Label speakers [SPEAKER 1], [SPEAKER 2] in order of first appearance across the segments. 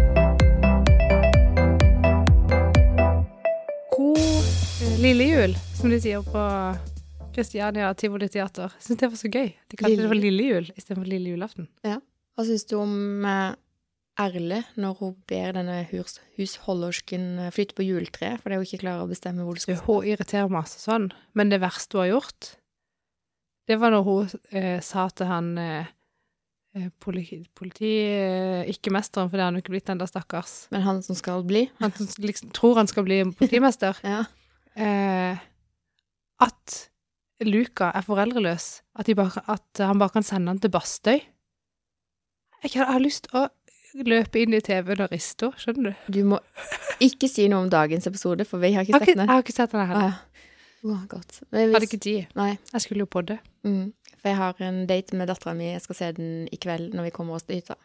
[SPEAKER 1] eh, Lille jul, som de sier på Kristiania Tivoli Teater. Syns det var så gøy. De kalte det for lille jul istedenfor lille julaften.
[SPEAKER 2] Hva syns du om eh, Erle når hun ber denne hus husholdersken eh, flytte på juletreet fordi hun ikke klarer å bestemme hvor det
[SPEAKER 1] Du,
[SPEAKER 2] skal
[SPEAKER 1] hun irriterer meg altså sånn, men det verste hun har gjort, det var når hun eh, sa til han eh, eh, politi, politi eh, ikke mesteren, for det har han jo ikke blitt ennå, stakkars.
[SPEAKER 2] Men han som skal bli?
[SPEAKER 1] Han som liksom tror han skal bli politimester.
[SPEAKER 2] Ja.
[SPEAKER 1] eh, at Luca er foreldreløs, at, de bare, at han bare kan sende han til Bastøy. Jeg, kan, jeg har lyst å løpe inn i TV-en og riste henne, skjønner du?
[SPEAKER 2] Du må ikke si noe om dagens episode, for vi har
[SPEAKER 1] Jeg
[SPEAKER 2] ikke
[SPEAKER 1] har ikke,
[SPEAKER 2] sett
[SPEAKER 1] jeg
[SPEAKER 2] den.
[SPEAKER 1] har ikke sett den
[SPEAKER 2] Ah,
[SPEAKER 1] heller.
[SPEAKER 2] ja. Å, godt. Men
[SPEAKER 1] Jeg hadde
[SPEAKER 2] hvis,
[SPEAKER 1] ikke tid.
[SPEAKER 2] nei.
[SPEAKER 1] Jeg skulle jo på det.
[SPEAKER 2] Mm. For jeg har en date med dattera mi. Jeg skal se den i kveld når vi kommer oss til hytta.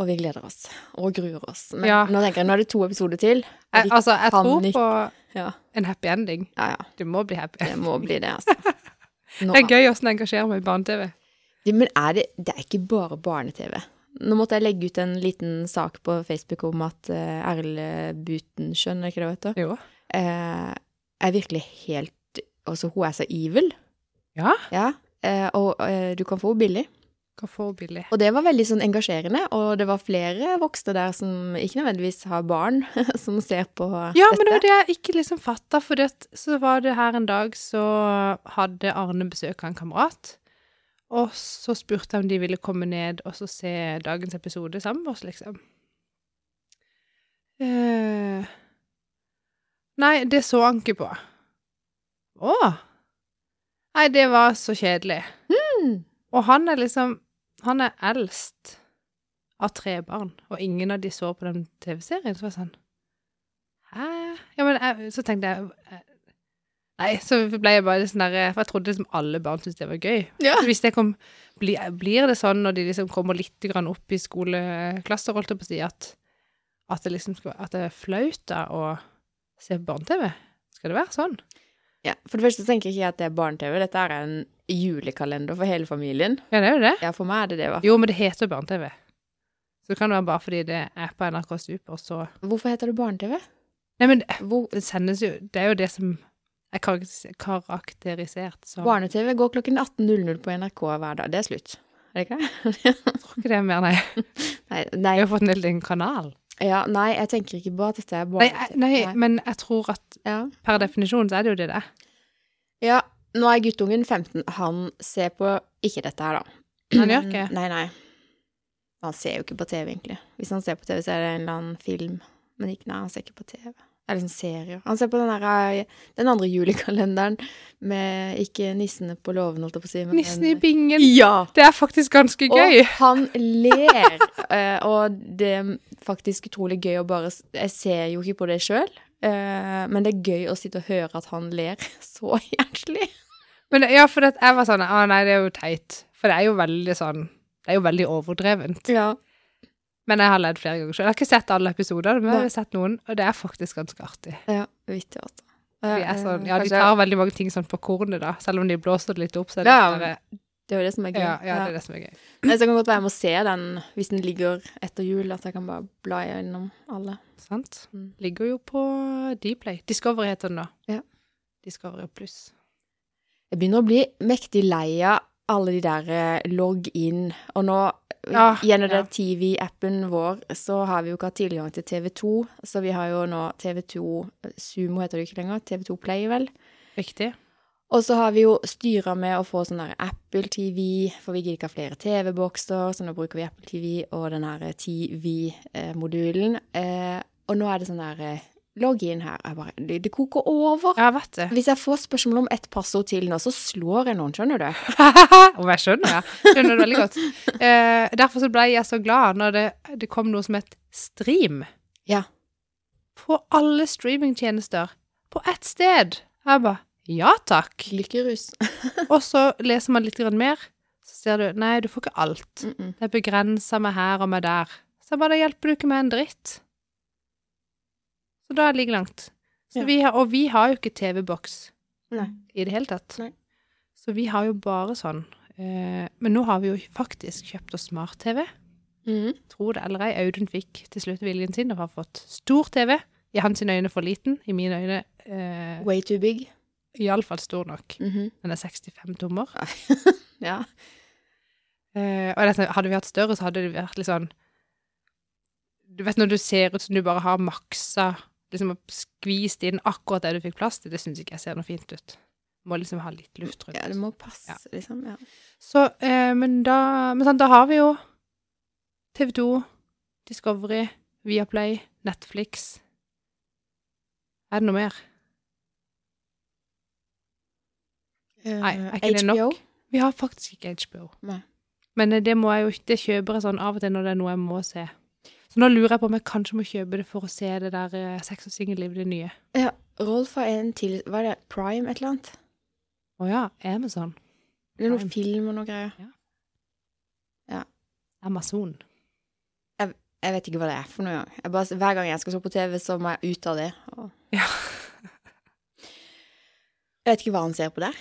[SPEAKER 2] Og vi gleder oss. Og gruer oss. Men
[SPEAKER 1] Ja.
[SPEAKER 2] nå tenker jeg, nå er det to episoder til. og
[SPEAKER 1] Jeg,
[SPEAKER 2] vi-
[SPEAKER 1] altså, jeg
[SPEAKER 2] kan
[SPEAKER 1] tror
[SPEAKER 2] ikke-
[SPEAKER 1] på
[SPEAKER 2] ja.
[SPEAKER 1] en happy ending.
[SPEAKER 2] ja, ja.
[SPEAKER 1] Det må bli happy.
[SPEAKER 2] Det må bli det, altså. Nå,
[SPEAKER 1] Det er gøy åssen jeg engasjerer meg i barne-TV.
[SPEAKER 2] Ja, Men er det, det er ikke bare barne-TV. Nå måtte jeg legge ut en liten sak på Facebook om at eh, Erle Butenschøn, er ikke det hva heter?
[SPEAKER 1] Jo.
[SPEAKER 2] Eh, er virkelig helt Altså, hun er så evil.
[SPEAKER 1] Ja.
[SPEAKER 2] Ja. Eh, og eh, du kan få henne billig.
[SPEAKER 1] Hva får billig?
[SPEAKER 2] Og det var veldig sånn engasjerende, og det var flere voksne der som ikke nødvendigvis har barn, som ser på
[SPEAKER 1] Ja, men
[SPEAKER 2] dette.
[SPEAKER 1] det var det jeg ikke liksom fatta, for så var det her en dag så hadde Arne besøk av en kamerat. Og så spurte jeg om de ville komme ned og så se dagens episode sammen med oss, liksom. Eh, nei, det så han ikke på. Å! Nei, det var så kjedelig.
[SPEAKER 2] Mm.
[SPEAKER 1] Og han er liksom Han er eldst av tre barn, og ingen av de så på den TV-serien. Så var jeg sånn Hæ? Ja, men jeg, så tenkte jeg eh, Nei, så ble jeg bare sånn derre For jeg trodde liksom alle barn syntes det var gøy.
[SPEAKER 2] Ja.
[SPEAKER 1] Så hvis det kom bli, Blir det sånn når de liksom kommer litt grann opp i skoleklasser, holdt jeg på å si, at, at det liksom skal, at det er flaut da å se på barne-TV? Skal det være sånn?
[SPEAKER 2] Ja, for det første tenker ikke jeg at det er barne-TV. Dette er en julekalender for hele familien.
[SPEAKER 1] Ja, det er jo det.
[SPEAKER 2] Ja, for meg er det det. i hvert fall.
[SPEAKER 1] Jo, men det heter barne-TV. Så det kan være bare fordi det er på NRK Super, så
[SPEAKER 2] Hvorfor heter det barne-TV?
[SPEAKER 1] Nei, men
[SPEAKER 2] Hvor-
[SPEAKER 1] det sendes jo Det er jo det som er karakteris- karakterisert som Jeg
[SPEAKER 2] Barne-TV går klokken 18.00 på NRK hver dag. Det er slutt. Er det ikke det?
[SPEAKER 1] tror ikke det er mer, nei.
[SPEAKER 2] Nei,
[SPEAKER 1] Jeg
[SPEAKER 2] nei,
[SPEAKER 1] har fått en helt egen kanal.
[SPEAKER 2] ja, nei, jeg tenker ikke på at dette er
[SPEAKER 1] Nei,
[SPEAKER 2] barne-TV.
[SPEAKER 1] jeg- nei, men jeg tror at
[SPEAKER 2] Ja.
[SPEAKER 1] per definisjon så er det jo det det er.
[SPEAKER 2] ja, nå er guttungen 15. Han ser på ikke dette her, da.
[SPEAKER 1] Han gjør ikke
[SPEAKER 2] Nei, nei. Han ser jo ikke på TV, egentlig. Hvis han ser på TV, så er det en eller annen film. Men ikke, nei, han ser ikke på TV. Det er liksom serier. Han ser på den, der, eh, den andre julekalenderen med ikke nissene på låven, holdt jeg på å si. men-
[SPEAKER 1] Nissen i bingen.
[SPEAKER 2] Ja!
[SPEAKER 1] Det er faktisk ganske gøy.
[SPEAKER 2] Og han ler. eh, og det er faktisk utrolig gøy å bare s- Jeg ser jo ikke på det sjøl, men det er gøy å sitte og høre at han ler så hjertelig.
[SPEAKER 1] Men ja, for at jeg var sånn Å nei, det er jo teit. For det er jo veldig sånn Det er jo veldig overdrevent.
[SPEAKER 2] Ja.
[SPEAKER 1] Men jeg har ledd flere ganger sjøl. Jeg har ikke sett alle episodene, men jeg
[SPEAKER 2] Nei.
[SPEAKER 1] har sett noen, og det er faktisk ganske artig.
[SPEAKER 2] ja vittig, altså.
[SPEAKER 1] De er sånn, ja,
[SPEAKER 2] Kanskje-
[SPEAKER 1] de tar veldig mange ting sånn på kornet, da. Selv om de blåser det litt opp, så er det
[SPEAKER 2] Ja,
[SPEAKER 1] bare,
[SPEAKER 2] Det er jo det som er gøy.
[SPEAKER 1] ja, ja, det er det som er gøy.
[SPEAKER 2] Nei, så kan godt være jeg må se den hvis den ligger etter jul, at jeg kan bare bla gjennom alle.
[SPEAKER 1] Sant?
[SPEAKER 2] Mm.
[SPEAKER 1] Ligger jo på Dplay. Discovery heter den da.
[SPEAKER 2] Ja.
[SPEAKER 1] Discovery pluss.
[SPEAKER 2] Jeg begynner å bli mektig lei av alle de der eh, logg inn, og nå eh,
[SPEAKER 1] Ja,
[SPEAKER 2] gjennom
[SPEAKER 1] ja.
[SPEAKER 2] den TV-appen vår, så har vi jo ikke hatt tilgang til TV2, så vi har jo nå TV2 eh, Sumo heter det jo ikke lenger, TV2 Play vel.
[SPEAKER 1] Riktig.
[SPEAKER 2] Og så har vi jo styra med å få sånn der Apple TV, for vi gidder ikke ha flere TV-bokser, så nå bruker vi Apple TV og den her TV-modulen. Eh, og nå er det sånn der eh, Logg inn her. Jeg bare, det, det koker over.
[SPEAKER 1] Ja, vet du.
[SPEAKER 2] Hvis jeg får spørsmål om ett passord til nå, så slår jeg noen, skjønner du?
[SPEAKER 1] Om jeg skjønner, ja. Skjønner det veldig godt. Eh, derfor så ble jeg så glad når det, det kom noe som het stream.
[SPEAKER 2] Ja.
[SPEAKER 1] På alle streamingtjenester. På ett sted. Jeg bare, ja takk.
[SPEAKER 2] Lykkerus.
[SPEAKER 1] Og så leser man litt grann mer, så ser du, nei, du får ikke alt.
[SPEAKER 2] Mm -mm.
[SPEAKER 1] Det begrenser meg her og meg der. Så bare hjelper du ikke med en dritt. Så da er det like langt. Så
[SPEAKER 2] Ja.
[SPEAKER 1] vi har, og vi har jo ikke TV-boks
[SPEAKER 2] Nei.
[SPEAKER 1] i det hele tatt.
[SPEAKER 2] Nei.
[SPEAKER 1] Så vi har jo bare sånn. Eh, men nå har vi jo faktisk kjøpt oss smart-TV.
[SPEAKER 2] Mm.
[SPEAKER 1] Tro det eller ei, Audun fikk til slutt viljen sin og har fått stor TV. I hans sine øyne for liten, i mine øyne eh,
[SPEAKER 2] Way too big.
[SPEAKER 1] iallfall stor nok.
[SPEAKER 2] Mhm.
[SPEAKER 1] Den er 65 tommer.
[SPEAKER 2] Ja.
[SPEAKER 1] Eh, og dette, hadde vi hatt større, så hadde det vært litt sånn Du vet når du ser ut som du bare har maksa Liksom skvist inn akkurat det du fikk plass til, det syns ikke jeg ser noe fint ut. Må liksom ha litt luft rundt.
[SPEAKER 2] ja, det må passe,
[SPEAKER 1] Ja.
[SPEAKER 2] liksom. Ja.
[SPEAKER 1] Så, eh, men da Men sånn, da har vi jo TV2, Discovery, Viaplay, Netflix. Er det noe mer? Nei, er ikke det nok?
[SPEAKER 2] HBO?
[SPEAKER 1] Vi har faktisk ikke HBO.
[SPEAKER 2] Nei.
[SPEAKER 1] Men eh, det må jeg jo ikke det kjøper jeg sånn av og til når det er noe jeg må se. Så nå lurer jeg på om jeg kanskje må kjøpe det for å se det der eh, Sex og singelliv, det nye.
[SPEAKER 2] Ja, Rolf har en til Hva er det? Prime et eller annet?
[SPEAKER 1] Å ja, Amazon.
[SPEAKER 2] Det er noe
[SPEAKER 1] Prime.
[SPEAKER 2] film og noe greier.
[SPEAKER 1] Amazon.
[SPEAKER 2] Jeg vet ikke hva det er for noe engang. Jeg bare- Hver gang jeg skal se på TV, så må jeg ut av det. Og...
[SPEAKER 1] Ja.
[SPEAKER 2] Jeg vet ikke hva han ser på der.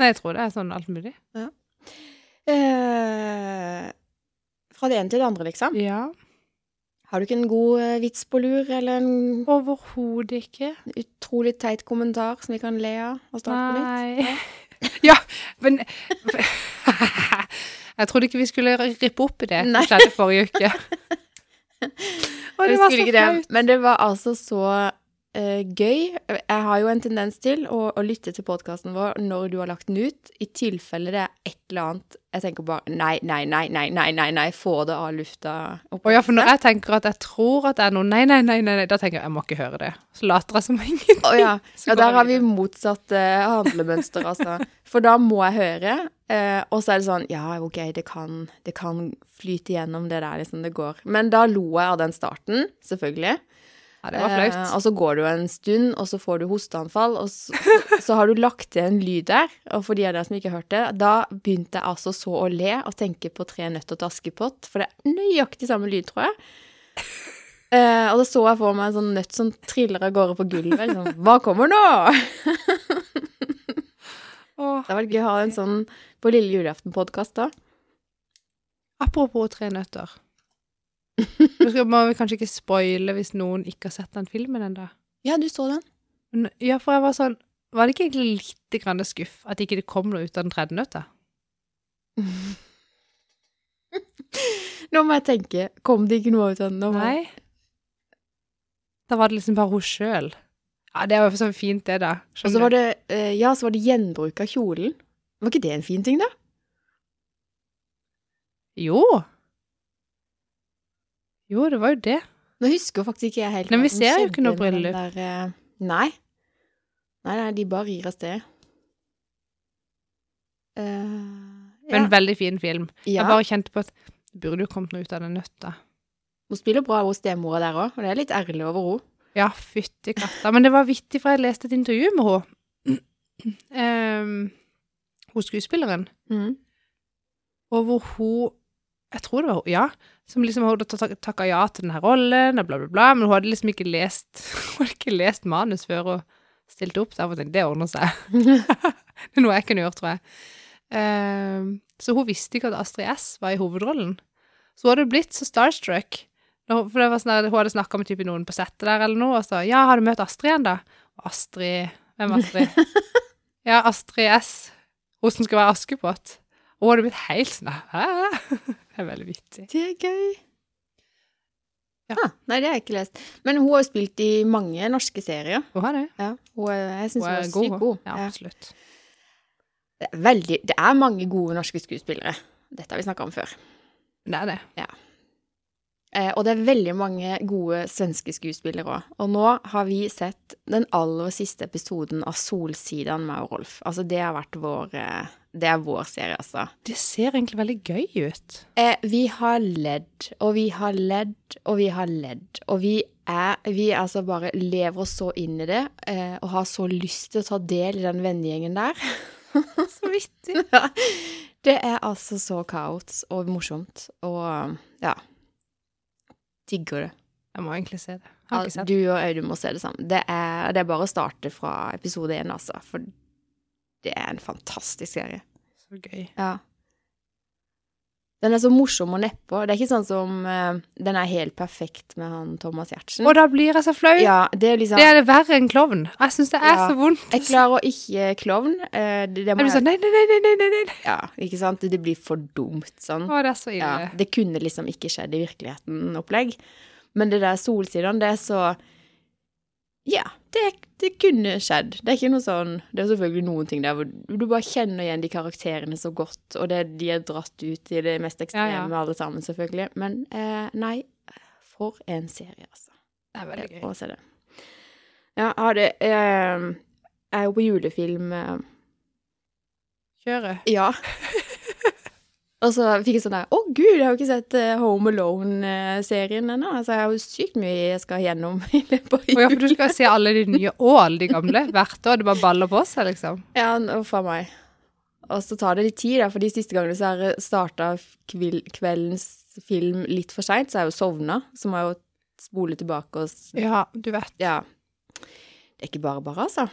[SPEAKER 1] Nei, jeg tror det er sånn alt mulig.
[SPEAKER 2] Eh, fra det ene til det andre, liksom.
[SPEAKER 1] Ja.
[SPEAKER 2] Har du ikke en god eh, vits på lur, eller en
[SPEAKER 1] Overhodet ikke.
[SPEAKER 2] utrolig teit kommentar som vi kan le av og starte på nytt?
[SPEAKER 1] Nei. Ja, men Jeg trodde ikke vi skulle rippe opp i det som
[SPEAKER 2] Nei.
[SPEAKER 1] skjedde forrige uke. Og det
[SPEAKER 2] Jeg
[SPEAKER 1] var
[SPEAKER 2] husker
[SPEAKER 1] så
[SPEAKER 2] ikke det,
[SPEAKER 1] flaut.
[SPEAKER 2] Men det var altså så eh, gøy. Jeg har jo en tendens til å, å lytte til podkasten vår når du har lagt den ut, i tilfelle det er et eller annet Jeg tenker bare nei, nei, nei, nei, nei, nei, nei, få det av lufta. opp.
[SPEAKER 1] Og ja, for når jeg tenker at jeg tror at det er noe nei, nei, nei, nei, nei, da tenker jeg jeg må ikke høre det. Så later jeg som ingen.
[SPEAKER 2] Å ja.
[SPEAKER 1] Så
[SPEAKER 2] ja,
[SPEAKER 1] går
[SPEAKER 2] der har vi
[SPEAKER 1] videre.
[SPEAKER 2] motsatt eh, handlemønster, altså. For da må jeg høre, eh, og så er det sånn Ja, OK, det kan, det kan flyte gjennom det der, liksom. Det går. Men da lo jeg av den starten, selvfølgelig.
[SPEAKER 1] Ja, det var flaut.
[SPEAKER 2] Eh, og så går det jo en stund, og så får du hosteanfall, og så, så, så har du lagt til en lyd der. Og for de av dere som ikke hørte det, da begynte jeg altså så å le og tenke på Tre nøtter til Askepott, for det er nøyaktig samme lyd, tror jeg. Eh, og da så jeg for meg en sånn nøtt som triller av gårde på gulvet. Liksom. Hva kommer nå?
[SPEAKER 1] Åh,
[SPEAKER 2] Det hadde vært gøy å ha en sånn på lille julaften-podkast da.
[SPEAKER 1] apropos Tre nøtter. Nå skal- må vi kanskje ikke spoile hvis noen ikke har sett den filmen ennå.
[SPEAKER 2] Ja, du så den.
[SPEAKER 1] Men Ja, for jeg var sånn Var det ikke egentlig litt grann skuff at ikke det kom noe ut av den tredje nøtta?
[SPEAKER 2] Nå må jeg tenke. Kom det ikke noe ut av den? Nå må-
[SPEAKER 1] Nei. Da var det liksom bare hun sjøl. Ja, det var jo så fint, det, da.
[SPEAKER 2] Og så var det, eh, ja, så var det gjenbruk av kjolen. Var ikke det en fin ting, da?
[SPEAKER 1] Jo. Jo, det var jo det.
[SPEAKER 2] Nå husker faktisk ikke jeg helt
[SPEAKER 1] Nei,
[SPEAKER 2] hva
[SPEAKER 1] vi
[SPEAKER 2] som
[SPEAKER 1] ser jo
[SPEAKER 2] skjedde
[SPEAKER 1] ikke noe
[SPEAKER 2] med den
[SPEAKER 1] bryllup.
[SPEAKER 2] der, eh, Nei. nei. Nei, de bare rir av sted. Eh,
[SPEAKER 1] Men veldig fin film.
[SPEAKER 2] ja, ja.
[SPEAKER 1] Jeg bare kjente på at det burde jo kommet noe ut av den nøtta.
[SPEAKER 2] Hun spiller bra hos stemora der òg, og det er litt ærlig over henne.
[SPEAKER 1] Ja, fytti katta. Men det var vittig, for jeg leste et intervju med henne. Ehm, hun skuespilleren. Og hvor hun Jeg tror det var hun, ja. Som liksom hadde tak- takka ja til denne rollen, og bla, bla, bla. Men hun hadde liksom ikke lest Hun hadde ikke lest manus før hun stilte opp. Så jeg bare tenkte det ordner seg. det er noe jeg kunne gjort, tror jeg. Ehm, så hun visste ikke at Astrid S var i hovedrollen. Så hun hadde blitt så starstruck. Da hun- For det var sånn der, Hun hadde snakka med type noen på settet der eller noe, og så Ja, har du møtt Astrid igjen, da? Og Astrid Hvem er Astrid? ja, Astrid S. Hun som skal være Askepott. Og hun hadde blitt helt sånn Hæ? Det er veldig vittig.
[SPEAKER 2] Det er gøy.
[SPEAKER 1] Ja.
[SPEAKER 2] Ah, nei, det har jeg ikke lest. Men hun har jo spilt i mange norske serier.
[SPEAKER 1] Hun er det.
[SPEAKER 2] Ja, hun er, jeg syns
[SPEAKER 1] Hun
[SPEAKER 2] hun,
[SPEAKER 1] er
[SPEAKER 2] er
[SPEAKER 1] god,
[SPEAKER 2] sykt god.
[SPEAKER 1] Ja,
[SPEAKER 2] Ja.
[SPEAKER 1] absolutt.
[SPEAKER 2] Det er Veldig, det er mange gode norske skuespillere. Dette har vi snakka om før.
[SPEAKER 1] Det er det.
[SPEAKER 2] Eh, og det er veldig mange gode svenske skuespillere òg. Og nå har vi sett den aller siste episoden av Solsidan med Rolf. Altså, det har vært vår eh, Det er vår serie, altså.
[SPEAKER 1] Det ser egentlig veldig gøy ut.
[SPEAKER 2] Eh, vi har ledd, og vi har ledd, og vi har ledd. Og vi er Vi altså bare lever oss så inn i det, eh, og har så lyst til å ta del i den vennegjengen der.
[SPEAKER 1] Så vittig.
[SPEAKER 2] Ja. Det er altså så kaos og morsomt, og ja Digger det.
[SPEAKER 1] Jeg må egentlig se det. Har ikke
[SPEAKER 2] Ja,
[SPEAKER 1] sett.
[SPEAKER 2] du og Audun må se det sammen. Det er, det er bare å starte fra episode én, altså. For det er en fantastisk serie.
[SPEAKER 1] Så gøy.
[SPEAKER 2] Ja. Den er så morsom og nedpå. Det er ikke sånn som eh, Den er helt perfekt med han Thomas Giertsen.
[SPEAKER 1] Og da blir jeg så flau.
[SPEAKER 2] Ja, det er liksom
[SPEAKER 1] Det er det verre enn klovn. Jeg syns det er
[SPEAKER 2] Ja.
[SPEAKER 1] så vondt.
[SPEAKER 2] Jeg klarer ikke klovn. eh, Det, det
[SPEAKER 1] Jeg
[SPEAKER 2] må
[SPEAKER 1] blir sånn
[SPEAKER 2] jeg,
[SPEAKER 1] nei, nei, nei, nei, nei, nei, nei.
[SPEAKER 2] ja, ikke sant? Det blir for dumt sånn.
[SPEAKER 1] Å, det er så ille.
[SPEAKER 2] Ja, det kunne liksom ikke skjedd i virkeligheten opplegg. Men det der solsidene, det er så Ja, det, det kunne skjedd. Det er ikke noe sånn Det er selvfølgelig noen ting der hvor du bare kjenner igjen de karakterene så godt, og det, de er dratt ut i det mest ekstreme
[SPEAKER 1] Ja, ja.
[SPEAKER 2] alle sammen, selvfølgelig. Men eh, nei, for en serie, altså.
[SPEAKER 1] Det er veldig gøy.
[SPEAKER 2] Å se det. Ja, har det eh, Jeg er jo på julefilm eh,
[SPEAKER 1] Kjøre.
[SPEAKER 2] ja. Og så fikk jeg sånn der Å, gud, jeg har jo ikke sett eh, Home Alone-serien ennå. Altså, jeg har jo sykt mye jeg skal gjennom i løpet av
[SPEAKER 1] Å ja, for du
[SPEAKER 2] julen.
[SPEAKER 1] skal se alle de nye og alle de gamle hvert år. Det bare baller på seg, liksom.
[SPEAKER 2] Ja, nå faen meg. Og så tar det litt tid, da, for de siste gangene så eh, har starta kveldens film litt for seint, så jeg har jo sovna. Så må jeg jo spole tilbake og s-
[SPEAKER 1] Ja, du vet.
[SPEAKER 2] Ja. Det er ikke bare bare, altså.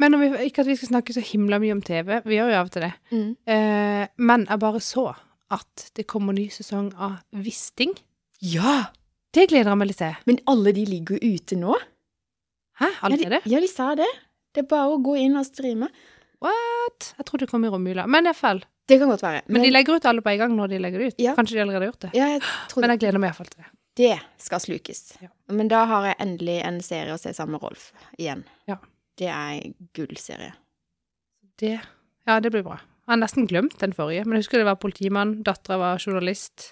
[SPEAKER 1] Men om vi, ikke at vi skal snakke så himla mye om TV. Vi gjør jo av og til det. Eh, men jeg bare så at det kommer ny sesong av Wisting.
[SPEAKER 2] Ja!
[SPEAKER 1] Det gleder jeg meg litt til.
[SPEAKER 2] Men alle de ligger jo ute nå.
[SPEAKER 1] Hæ, allerede?
[SPEAKER 2] Ja, de, ja, de sa det. Det er bare å gå inn og streame.
[SPEAKER 1] What? Jeg trodde det kom i romjula. Men iallfall.
[SPEAKER 2] Det kan godt være.
[SPEAKER 1] Men de legger ut alle på en gang når de legger det ut.
[SPEAKER 2] Ja.
[SPEAKER 1] Kanskje de allerede har gjort det.
[SPEAKER 2] ja, jeg tror
[SPEAKER 1] Men jeg gleder meg iallfall til det.
[SPEAKER 2] det skal slukes.
[SPEAKER 1] Ja.
[SPEAKER 2] Men da har jeg endelig en serie å se sammen med Rolf igjen.
[SPEAKER 1] Ja.
[SPEAKER 2] Det er en gullserie.
[SPEAKER 1] Det, ja, det blir bra. Jeg har nesten glemt den forrige, men jeg husker det var politimann, dattera var journalist.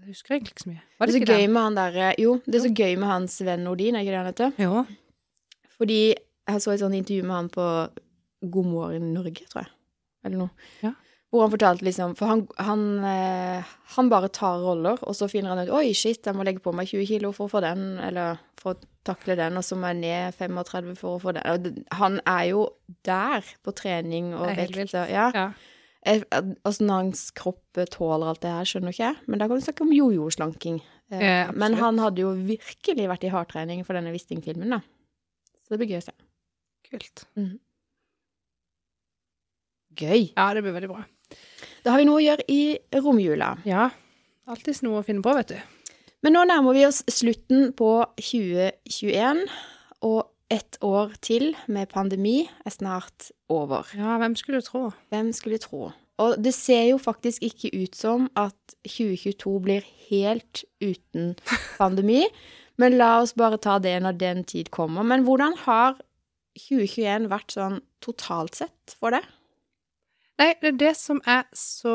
[SPEAKER 1] Jeg husker egentlig ikke så mye. Var
[SPEAKER 2] Det
[SPEAKER 1] det,
[SPEAKER 2] er så
[SPEAKER 1] ikke
[SPEAKER 2] gøy med han derre Jo, det er så gøy med hans venn Nordin, er ikke det han heter?
[SPEAKER 1] den? Jo.
[SPEAKER 2] Fordi jeg så et sånt intervju med han på God morgen Norge, tror jeg. Eller noe.
[SPEAKER 1] Ja.
[SPEAKER 2] Hvor han fortalte liksom For han, han, eh, han bare tar roller, og så finner han ut Oi, shit, jeg må legge på meg 20 kilo for å få den, eller for å takle den, og så må jeg ned 35 for å få den. Og det- Han er jo der på trening og
[SPEAKER 1] Det er helt
[SPEAKER 2] vekt.
[SPEAKER 1] vilt.
[SPEAKER 2] og- Ja.
[SPEAKER 1] Ja.
[SPEAKER 2] Jeg- Altså, når hans kropp eh, tåler alt det her, skjønner ikke jeg. Men da kan du snakke om jojo-slanking. Eh,
[SPEAKER 1] Eh,
[SPEAKER 2] Men
[SPEAKER 1] absolutt.
[SPEAKER 2] han hadde jo virkelig vært i hardtrening for denne Wisting-filmen, da. Så det blir gøy å se.
[SPEAKER 1] Kult.
[SPEAKER 2] Gøy.
[SPEAKER 1] Ja, det blir veldig bra.
[SPEAKER 2] Da har vi noe å gjøre i romjula.
[SPEAKER 1] Ja. Alltids noe å finne på, vet du.
[SPEAKER 2] Men nå nærmer vi oss slutten på 2021, og ett år til med pandemi er snart over.
[SPEAKER 1] Ja, hvem skulle tro?
[SPEAKER 2] Hvem skulle tro? Og det ser jo faktisk ikke ut som at 2022 blir helt uten pandemi, men la oss bare ta det når den tid kommer. Men hvordan har 2021 vært sånn totalt sett for det?
[SPEAKER 1] Nei, det er det som er så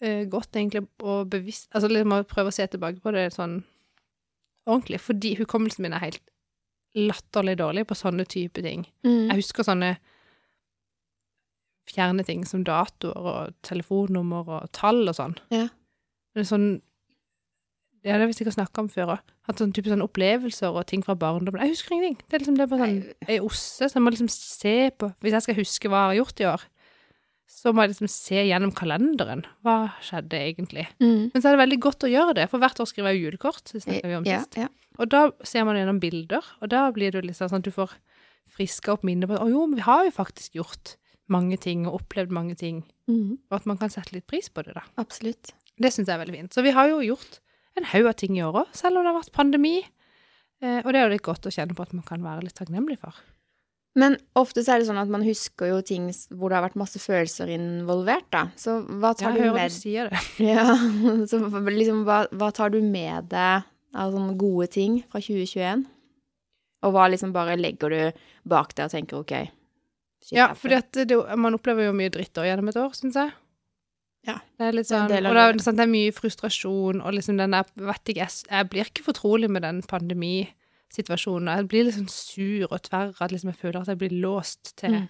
[SPEAKER 1] eh, godt, egentlig, å bevisst Altså, liksom å prøve å se tilbake på det sånn ordentlig, fordi hukommelsen min er helt latterlig dårlig på sånne type ting.
[SPEAKER 2] Mm.
[SPEAKER 1] Jeg husker sånne fjerne ting som datoer og telefonnummer og tall og sånn.
[SPEAKER 2] Ja.
[SPEAKER 1] Men sånn Ja, det har vi sikkert snakka om før òg. Hatt sånn type sånne opplevelser og ting fra barndommen. Jeg husker ingenting. Det er liksom det er bare sånn Jeg er osse, så jeg må liksom se på Hvis jeg skal huske hva jeg har gjort i år, så må jeg liksom se gjennom kalenderen. Hva skjedde egentlig?
[SPEAKER 2] Mm.
[SPEAKER 1] Men så er det veldig godt å gjøre det, for hvert år skriver jeg jo julekort. Det snakket vi om
[SPEAKER 2] Ja,
[SPEAKER 1] sist.
[SPEAKER 2] ja.
[SPEAKER 1] Og da ser man gjennom bilder, og da blir det jo liksom sånn at du får friska opp minnet på at å jo, men vi har jo faktisk gjort mange ting og opplevd mange ting,
[SPEAKER 2] Mm.
[SPEAKER 1] og at man kan sette litt pris på det, da.
[SPEAKER 2] Absolutt.
[SPEAKER 1] Det syns jeg er veldig fint. Så vi har jo gjort en haug av ting i år òg, selv om det har vært pandemi. Eh, og det er jo litt godt å kjenne på at man kan være litt takknemlig for.
[SPEAKER 2] Men ofte så er det sånn at man husker jo ting s- hvor det har vært masse følelser involvert, da. Så hva tar
[SPEAKER 1] Jeg
[SPEAKER 2] du
[SPEAKER 1] hører
[SPEAKER 2] med
[SPEAKER 1] du sier det.
[SPEAKER 2] Ja, så liksom, hva, hva tar du med deg av sånne gode ting fra 2021? Og hva liksom bare legger du bak deg og tenker ok shit,
[SPEAKER 1] Ja,
[SPEAKER 2] jeg-
[SPEAKER 1] for man opplever jo mye dritt da gjennom et år, syns jeg.
[SPEAKER 2] Ja,
[SPEAKER 1] Det er litt
[SPEAKER 2] det er en
[SPEAKER 1] sånn,
[SPEAKER 2] del av
[SPEAKER 1] og det er,
[SPEAKER 2] livet.
[SPEAKER 1] sant, det er mye frustrasjon, og liksom den der, vet ikke, jeg, s- jeg blir ikke fortrolig med den pandemisituasjonen. Jeg blir liksom sur og tverr, at liksom jeg føler at jeg blir låst til,
[SPEAKER 2] Mm.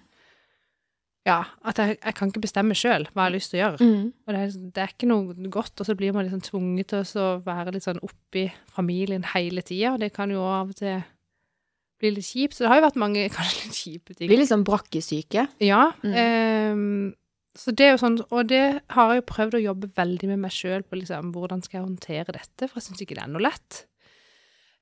[SPEAKER 1] ja, at jeg, jeg kan ikke bestemme selv hva jeg har lyst til å gjøre.
[SPEAKER 2] Mm,
[SPEAKER 1] Og det er, liksom, det er ikke noe godt, og så blir man liksom tvunget til å så være litt sånn oppi familien hele tiden, og det kan jo av og til bli litt kjipt, så det har jo vært mange kanskje litt kjipe ting.
[SPEAKER 2] blir liksom brakkesyke.
[SPEAKER 1] Ja.
[SPEAKER 2] Mm.
[SPEAKER 1] ehm, så det er jo sånn, og det har jeg jo prøvd å jobbe veldig med meg sjøl på, liksom, hvordan skal jeg håndtere dette, for jeg syns ikke det er noe lett.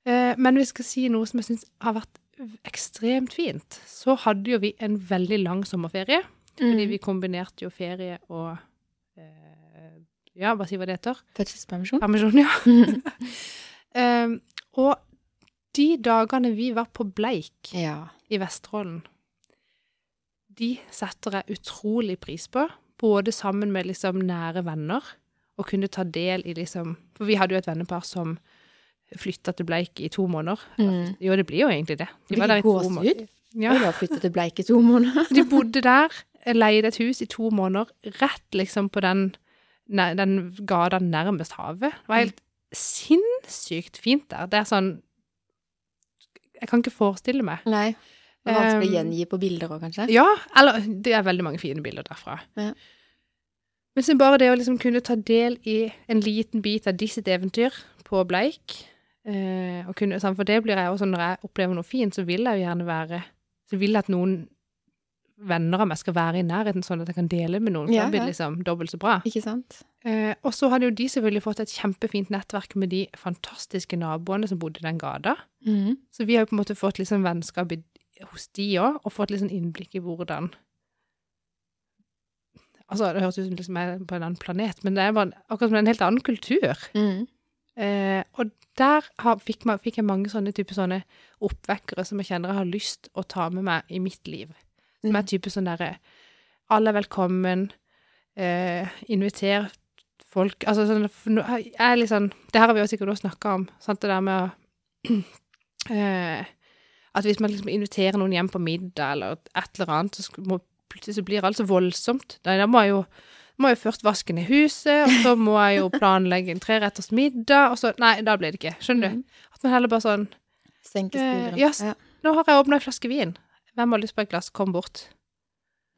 [SPEAKER 1] Eh, men vi skal si noe som jeg syns har vært ekstremt fint. Så hadde jo vi en veldig lang sommerferie,
[SPEAKER 2] Mm.
[SPEAKER 1] Fordi vi kombinerte jo ferie og eh, Ja, hva sier hva det heter?
[SPEAKER 2] Mm. Fødselspermisjon.
[SPEAKER 1] Permisjon, ja. Ehm, og de dagene vi var på Bleik
[SPEAKER 2] ja.
[SPEAKER 1] i Vesterålen, de setter jeg utrolig pris på. Både sammen med liksom nære venner, og kunne ta del i liksom For vi hadde jo et vennepar som flytta til Bleik i to måneder.
[SPEAKER 2] Mm.
[SPEAKER 1] Jo, det blir jo egentlig det. De var
[SPEAKER 2] Fikk
[SPEAKER 1] der i to
[SPEAKER 2] gåsehud.
[SPEAKER 1] måneder. Ja.
[SPEAKER 2] Og da flyttet til Bleik i to måneder.
[SPEAKER 1] De bodde der, leide et hus i to måneder, rett liksom på den, ne- den gata nærmest havet. Det var helt sinnssykt fint der. Det er sånn Jeg kan ikke forestille meg.
[SPEAKER 2] Nei. Det var vanskelig å
[SPEAKER 1] Um,
[SPEAKER 2] gjengi på bilder òg, kanskje.
[SPEAKER 1] Ja, eller det er veldig mange fine bilder derfra.
[SPEAKER 2] Ja.
[SPEAKER 1] Men så bare det å liksom kunne ta del i en liten bit av de sitt eventyr på Bleik eh, og kunne, sant, For det blir jeg også når jeg opplever noe fint, så vil jeg jo gjerne være Så vil jeg at noen venner av meg skal være i nærheten, sånn at jeg kan dele med noen. For
[SPEAKER 2] Ja,
[SPEAKER 1] da blir
[SPEAKER 2] ja.
[SPEAKER 1] det liksom dobbelt så bra.
[SPEAKER 2] Ikke sant?
[SPEAKER 1] Eh, og så hadde jo de selvfølgelig fått et kjempefint nettverk med de fantastiske naboene som bodde i den gata.
[SPEAKER 2] Mhm.
[SPEAKER 1] Så vi har jo på en måte fått litt sånn vennskap i, hos de òg, og fått litt sånn innblikk i hvordan Altså, det høres ut som liksom jeg er på en annen planet, men det er bare en- akkurat som en helt annen kultur.
[SPEAKER 2] Mhm.
[SPEAKER 1] Eh, og der har, fikk, ma- fikk jeg mange sånne type sånne oppvekkere som jeg kjenner jeg har lyst å ta med meg i mitt liv. Som er
[SPEAKER 2] Mhm.
[SPEAKER 1] type sånn derre Alle er velkommen. Eh, inviter folk Altså sånn for nå- Jeg er litt sånn Det her har vi jo sikkert også snakka om, sant, det der med å eh, At hvis man liksom inviterer noen hjem på middag eller et eller annet, så sk- må, plutselig så blir alt så voldsomt. Da, da må jeg jo må jeg jo først vaske ned huset, og så må jeg jo planlegge en treretters middag, og så Nei, da blir det ikke. Skjønner
[SPEAKER 2] Mm.
[SPEAKER 1] du? At man heller bare sånn
[SPEAKER 2] Senke
[SPEAKER 1] Eh,
[SPEAKER 2] skuldrene.
[SPEAKER 1] ja, s- Nå har jeg åpna ei flaske vin. Hvem har lyst på et glass? Kom bort.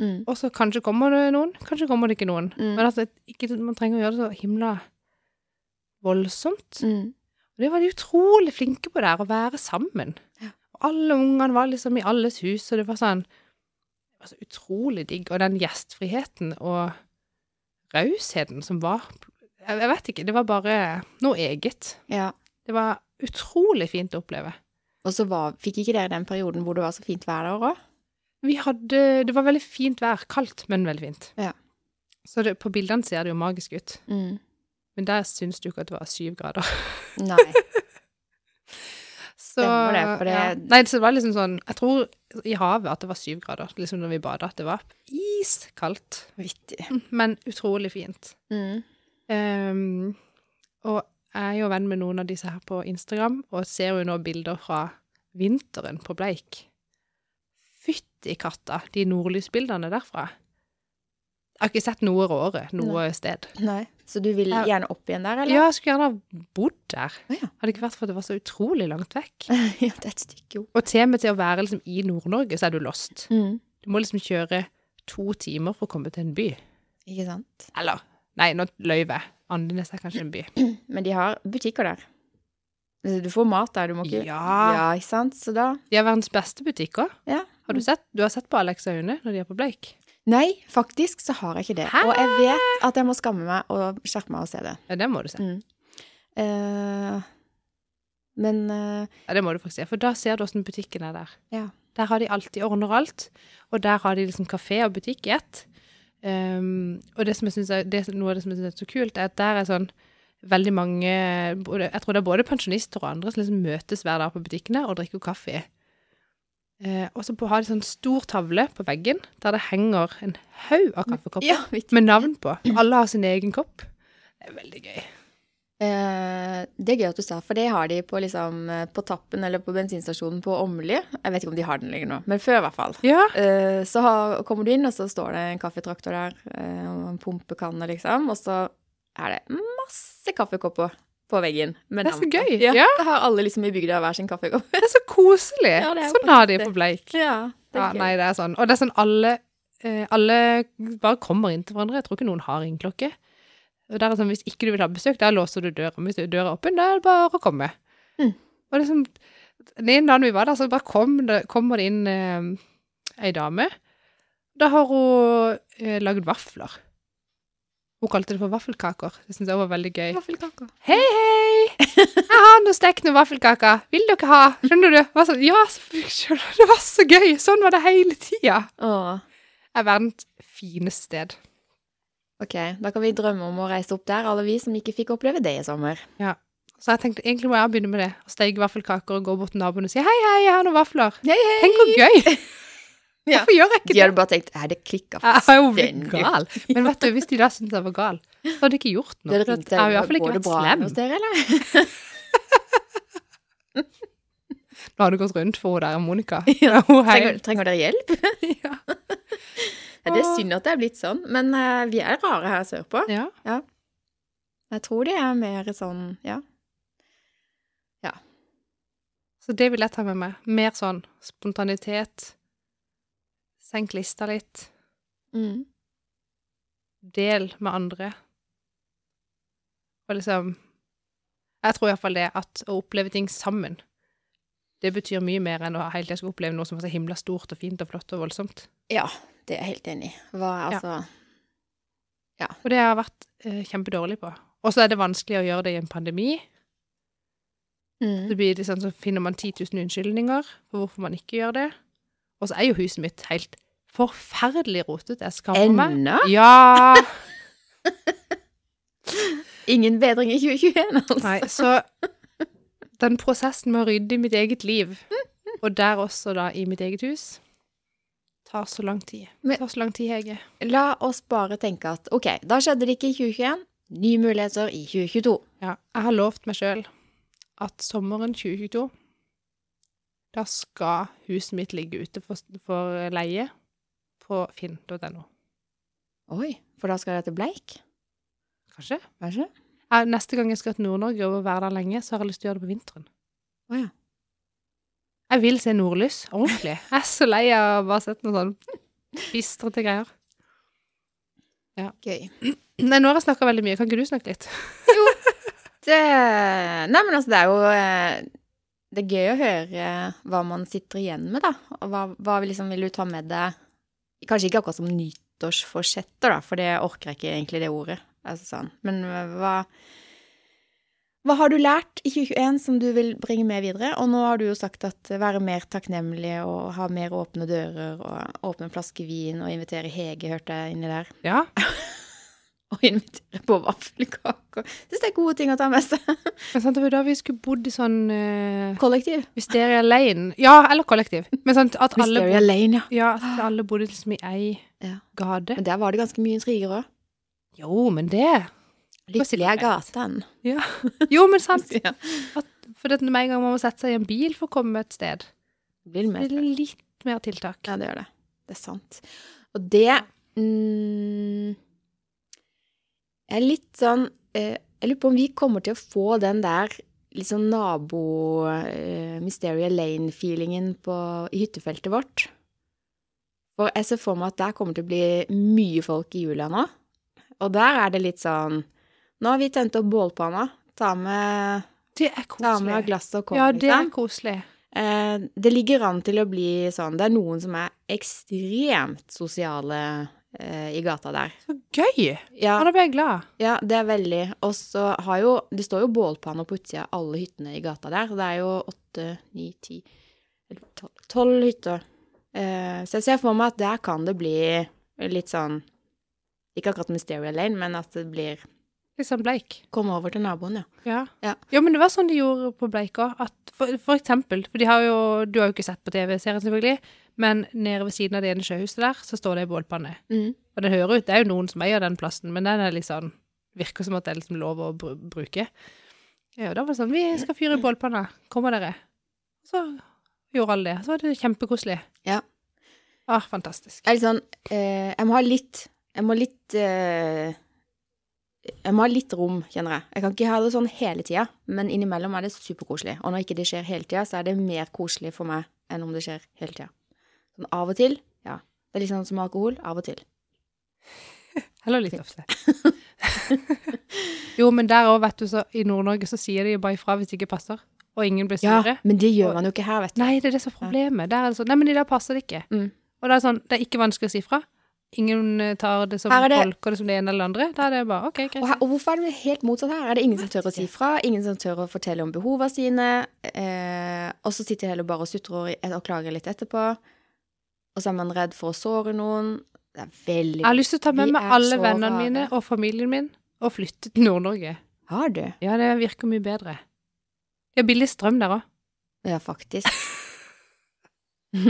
[SPEAKER 2] Mhm.
[SPEAKER 1] Og så kanskje kommer det noen, kanskje kommer det ikke noen.
[SPEAKER 2] Mm.
[SPEAKER 1] Men altså, ikke, man trenger å gjøre det så himla voldsomt.
[SPEAKER 2] Mhm.
[SPEAKER 1] Og det var de utrolig flinke på der, å være sammen.
[SPEAKER 2] Ja.
[SPEAKER 1] Og alle ungene var liksom i alles hus, og det var sånn det var så utrolig digg. Og den gjestfriheten og rausheten som var jeg, jeg vet ikke, det var bare noe eget.
[SPEAKER 2] Ja.
[SPEAKER 1] Det var utrolig fint å oppleve.
[SPEAKER 2] Og så var, fikk ikke dere den perioden hvor det var så fint vær der òg?
[SPEAKER 1] Vi hadde Det var veldig fint vær. Kaldt, men veldig fint.
[SPEAKER 2] Ja.
[SPEAKER 1] Så det, på bildene ser det jo magisk ut.
[SPEAKER 2] Mm.
[SPEAKER 1] Men der syns du ikke at det var syv grader.
[SPEAKER 2] Nei.
[SPEAKER 1] Så,
[SPEAKER 2] Stemmer det, for det-
[SPEAKER 1] ja. Nei, så det var liksom sånn Jeg tror i havet at det var syv grader, liksom når vi bada, at det var iskaldt.
[SPEAKER 2] Vittig.
[SPEAKER 1] Men utrolig fint.
[SPEAKER 2] Mm.
[SPEAKER 1] Ehm, og jeg er jo venn med noen av disse her på Instagram, og ser jo nå bilder fra vinteren på Bleik. Fytti katta, de nordlysbildene derfra. Jeg har ikke sett noe råere noe sted.
[SPEAKER 2] Nei. Så du vil
[SPEAKER 1] Ja.
[SPEAKER 2] gjerne opp igjen der, eller?
[SPEAKER 1] Ja, jeg skulle gjerne ha bodd der.
[SPEAKER 2] Å, ja.
[SPEAKER 1] Hadde ikke vært for at det var så utrolig langt vekk.
[SPEAKER 2] ja, det er et stykke opp.
[SPEAKER 1] Og til og med til å være liksom i Nord-Norge, så er du lost.
[SPEAKER 2] Mm.
[SPEAKER 1] Du må liksom kjøre to timer for å komme til en by.
[SPEAKER 2] Ikke sant?
[SPEAKER 1] Eller, nei, nå løy jeg. Andenes er kanskje en by.
[SPEAKER 2] Men de har butikker der. Altså, Du får mat der, du må ikke
[SPEAKER 1] Ja.
[SPEAKER 2] ja ikke sant? Så da
[SPEAKER 1] De har verdens beste butikker.
[SPEAKER 2] Ja.
[SPEAKER 1] Har du sett? Du har sett på Alex og Aune når de er på Bleik?
[SPEAKER 2] Nei, faktisk så har jeg ikke det.
[SPEAKER 1] Hæ?
[SPEAKER 2] Og jeg vet at jeg må skamme meg og skjerpe meg og se det.
[SPEAKER 1] Ja, det må du se.
[SPEAKER 2] Mm. Eh, men eh,
[SPEAKER 1] Ja, det må du faktisk se, for da ser du åssen butikken er der.
[SPEAKER 2] Ja.
[SPEAKER 1] Der har de alltid ordner alt, og der har de liksom kafé og butikk i ett. Um, og det som jeg synes er, det, som- noe av det som jeg syns er så kult, er at der er sånn veldig mange både, Jeg tror det er både pensjonister og andre som liksom møtes hver dag på butikkene og drikker kaffe. Eh, og så på- har de sånn stor tavle på veggen der det henger en haug av kaffekopper
[SPEAKER 2] ja, vittig.
[SPEAKER 1] med navn på. Alle har sin egen kopp. Det er veldig gøy.
[SPEAKER 2] Eh, det er gøy at du sa, for det har de på, liksom, eh, på tappen eller på bensinstasjonen på Åmli. Jeg vet ikke om de har den lenger nå, men før i hvert fall.
[SPEAKER 1] Ja.
[SPEAKER 2] Eh, så har, kommer du inn, og så står det en kaffetraktor der, eh, og en pumpekanne, liksom. Og så er det masse kaffekopper på veggen. med
[SPEAKER 1] Det er så
[SPEAKER 2] navn på.
[SPEAKER 1] gøy.
[SPEAKER 2] Ja,
[SPEAKER 1] Ja.
[SPEAKER 2] Da har alle liksom i bygda hver sin kaffekopp.
[SPEAKER 1] Det er så koselig.
[SPEAKER 2] Ja, det er jo
[SPEAKER 1] sånn har de
[SPEAKER 2] faktisk
[SPEAKER 1] på Bleik.
[SPEAKER 2] ja, det er
[SPEAKER 1] Ja,
[SPEAKER 2] gøy.
[SPEAKER 1] nei, det er sånn. Og det er sånn alle, eh, alle bare kommer inn til hverandre. Jeg tror ikke noen har ringeklokke. Og der er sånn, hvis ikke du vil ha besøk, da låser du døra. Men Hvis døra er åpen, da er det bare å komme.
[SPEAKER 2] Mm.
[SPEAKER 1] Og det er sånn, den ene dagen vi var der, så bare kom det, kommer det inn eh, ei dame. Da har hun eh, lagd vafler. Hun kalte det for vaffelkaker. Det syns jeg var veldig gøy.
[SPEAKER 2] Vaffelkaker.
[SPEAKER 1] Hei, hei! Jeg har noe stekt noen vaffelkaker. Vil dere ha? Skjønner du? Det var sånn, ja, selvfølgelig. det var så gøy. Sånn var det hele tida.
[SPEAKER 2] Åh,
[SPEAKER 1] er verdens fineste sted.
[SPEAKER 2] Ok, da kan vi drømme om å reise opp der, alle vi som ikke fikk oppleve det i sommer.
[SPEAKER 1] Så jeg tenkte egentlig må jeg begynne med det. Og steke vaffelkaker og gå bort til naboen og si hei, hei, jeg har noen vafler.
[SPEAKER 2] Hei, hei!
[SPEAKER 1] Tenk hvor gøy!
[SPEAKER 2] Ja.
[SPEAKER 1] Hvorfor gjør jeg ikke
[SPEAKER 2] De
[SPEAKER 1] det?
[SPEAKER 2] hadde bare tenkt at det klikka
[SPEAKER 1] Jeg er jo blitt
[SPEAKER 2] fullstendig.
[SPEAKER 1] gal. Men vet du, hvis de da syntes jeg var gal, så hadde de ikke gjort noe.
[SPEAKER 2] Dere
[SPEAKER 1] for at
[SPEAKER 2] ringte
[SPEAKER 1] Jeg har i hvert fall ikke
[SPEAKER 2] går det
[SPEAKER 1] vært
[SPEAKER 2] bra
[SPEAKER 1] slem.
[SPEAKER 2] hos dere, eller?
[SPEAKER 1] Nå har du gått rundt for hun der, Monica. Ja, hun hei.
[SPEAKER 2] Trenger, trenger dere hjelp?
[SPEAKER 1] Ja.
[SPEAKER 2] Ja, det er synd at det er blitt sånn, men eh, vi er rare her sørpå.
[SPEAKER 1] Ja.
[SPEAKER 2] Jeg tror de er mer sånn, ja.
[SPEAKER 1] Så det vil jeg ta med meg. Mer sånn spontanitet. Senk lista litt.
[SPEAKER 2] Mm.
[SPEAKER 1] Del med andre. Og liksom Jeg tror iallfall det at å oppleve ting sammen, det betyr mye mer enn å hele tida skulle oppleve noe som var så himla stort og fint og flott og voldsomt.
[SPEAKER 2] Ja, det er jeg helt enig i. Hva, altså,
[SPEAKER 1] Og det har jeg vært eh, kjempedårlig på. Og så er det vanskelig å gjøre det i en pandemi.
[SPEAKER 2] mm.
[SPEAKER 1] Så, blir det sånn, så finner man 10 000 unnskyldninger for hvorfor man ikke gjør det. Og så er jo huset mitt helt forferdelig rotete. Jeg skammer meg.
[SPEAKER 2] Ennå?
[SPEAKER 1] Ja!
[SPEAKER 2] Ingen bedring i 2021, altså.
[SPEAKER 1] Nei, så den prosessen med å rydde i mitt eget liv, og der også da i mitt eget hus, tar så lang tid.
[SPEAKER 2] Men-
[SPEAKER 1] tar så lang tid, Hege.
[SPEAKER 2] La oss bare tenke at ok, da skjedde det ikke i 2021. Nye muligheter i 2022.
[SPEAKER 1] Ja, jeg har lovt meg sjøl at sommeren 2022, da skal huset mitt ligge ute for, for leie på finn.no.
[SPEAKER 2] Oi, for da skal dere til Bleik?
[SPEAKER 1] Kanskje?
[SPEAKER 2] Kanskje?
[SPEAKER 1] Ja, neste gang jeg skal til Nord-Norge og være der lenge, så har jeg lyst til å gjøre det på vinteren.
[SPEAKER 2] Å ja.
[SPEAKER 1] Jeg vil se nordlys, ordentlig. Jeg er så lei av å bare ha sett noen sånn bistrete greier.
[SPEAKER 2] Gøy.
[SPEAKER 1] Nei, nå har jeg snakka veldig mye. Kan ikke du snakke litt?
[SPEAKER 2] Det, nei, men altså, det er jo eh, Det er gøy å høre eh, hva man sitter igjen med, da. Og Hva, hva vil liksom, vil du ta med deg Kanskje ikke akkurat som nyttårsforsetter, da, for det orker jeg ikke egentlig det ordet. Altså, sånn. Men eh, hva hva har du lært i 2021 som du vil bringe med videre? Og nå har du jo sagt at eh, være mer takknemlig og ha mer åpne dører og eh, åpne en flaske vin og invitere Hege, hørte jeg inni der.
[SPEAKER 1] Ja.
[SPEAKER 2] Og invitere på vaffelkaker. Syns det er gode ting å ta med seg.
[SPEAKER 1] Men sant, det var jo da vi skulle bodd i sånn uh,
[SPEAKER 2] Kollektiv.
[SPEAKER 1] Mysteria Lane. Ja, eller kollektiv. Men sant, at alle,
[SPEAKER 2] Mysteria
[SPEAKER 1] bo
[SPEAKER 2] Lane, ja.
[SPEAKER 1] ja, at alle bodde liksom i ei
[SPEAKER 2] Ja.
[SPEAKER 1] gate.
[SPEAKER 2] Men der var det ganske mye intriger òg.
[SPEAKER 1] Jo, men det
[SPEAKER 2] Lykkelig er gaten.
[SPEAKER 1] Jo, men sant.
[SPEAKER 2] Ja.
[SPEAKER 1] For det at med en gang man må sette seg i en bil for å komme et sted,
[SPEAKER 2] Det blir
[SPEAKER 1] det
[SPEAKER 2] mer.
[SPEAKER 1] er litt mer tiltak.
[SPEAKER 2] Ja, det gjør det. Det er sant. Og det mm, er litt sånn eh, Jeg lurer på om vi kommer til å få den der litt sånn eh, nabo-Mysteria Lane-feelingen på- i hyttefeltet vårt. For jeg ser for meg at der kommer til å bli mye folk i jula nå. Og der er det litt sånn Nå har vi tent opp bålpanna. Ta med
[SPEAKER 1] Det er
[SPEAKER 2] Ta med
[SPEAKER 1] koselig.
[SPEAKER 2] glass og kopp,
[SPEAKER 1] Ja, det er
[SPEAKER 2] liksom.
[SPEAKER 1] koselig.
[SPEAKER 2] Eh, det ligger an til å bli sånn. Det er noen som er ekstremt sosiale eh, i gata der.
[SPEAKER 1] Så gøy!
[SPEAKER 2] Ja,
[SPEAKER 1] Ja, da ble jeg glad.
[SPEAKER 2] ja, det er veldig. Og så har jo Det står jo bålpanner på utsida av alle hyttene i gata der. Så det er jo åtte, ni, ti eller tolv- Tolv hytter. Eh, så jeg ser for meg at der kan det bli litt sånn Ikke akkurat Mysteria Lane, men at det blir
[SPEAKER 1] Litt sånn bleik.
[SPEAKER 2] Komme over til naboen, ja.
[SPEAKER 1] Ja.
[SPEAKER 2] Ja.
[SPEAKER 1] men det var sånn de gjorde på Bleika. At for, for eksempel, for de har jo, du har jo ikke sett på TV-serien selvfølgelig, men nede ved siden av det ene sjøhuset der, så står det ei bålpanne.
[SPEAKER 2] Mm.
[SPEAKER 1] Og det hører ut, det er jo noen som eier den plassen, men den er liksom, virker som at det er liksom lov å bru- bruke. Ja, og da var det sånn, vi skal fyre i bålpanna, kommer dere? Så gjorde alle det, så var det kjempekoselig.
[SPEAKER 2] Ja.
[SPEAKER 1] Ah, fantastisk.
[SPEAKER 2] er litt sånn eh, Jeg må ha litt Jeg må ha litt eh, Jeg må ha litt rom, kjenner jeg. Jeg kan ikke ha det sånn hele tida, men innimellom er det superkoselig. Og når ikke det skjer hele tida, så er det mer koselig for meg enn om det skjer hele tida. Sånn av og til, ja. Det er litt sånn som alkohol. Av og til.
[SPEAKER 1] Heller litt ofte. jo, men der også, vet du, så i Nord-Norge så sier de jo bare ifra hvis det ikke passer, og ingen blir
[SPEAKER 2] Ja,
[SPEAKER 1] sure.
[SPEAKER 2] men det gjør man jo ikke her, vet du.
[SPEAKER 1] Nei, det er det som er problemet. Der er det sånn, nei, men i dag passer det ikke.
[SPEAKER 2] Mm.
[SPEAKER 1] Og det er sånn, det er ikke vanskelig å si fra. Ingen eh, tar det som
[SPEAKER 2] Her er det-
[SPEAKER 1] tolker det som det ene eller det andre. Da er det bare, ok,
[SPEAKER 2] Og,
[SPEAKER 1] greit.
[SPEAKER 2] her, og hvorfor er det helt motsatt her? Er det ingen som tør å si fra? Ingen som tør å fortelle om behova sine? Eh, og så sitter de heller bare og sutrer og, og klager litt etterpå. Og så er man redd for å såre noen. Det er veldig
[SPEAKER 1] Jeg har lyst til å ta med
[SPEAKER 2] Vi
[SPEAKER 1] meg
[SPEAKER 2] er
[SPEAKER 1] alle
[SPEAKER 2] så
[SPEAKER 1] vennene
[SPEAKER 2] rare.
[SPEAKER 1] mine og familien min og flytte til Nord-Norge.
[SPEAKER 2] Har du?
[SPEAKER 1] Ja, det virker mye bedre. Det er billig strøm der òg.
[SPEAKER 2] Ja, faktisk.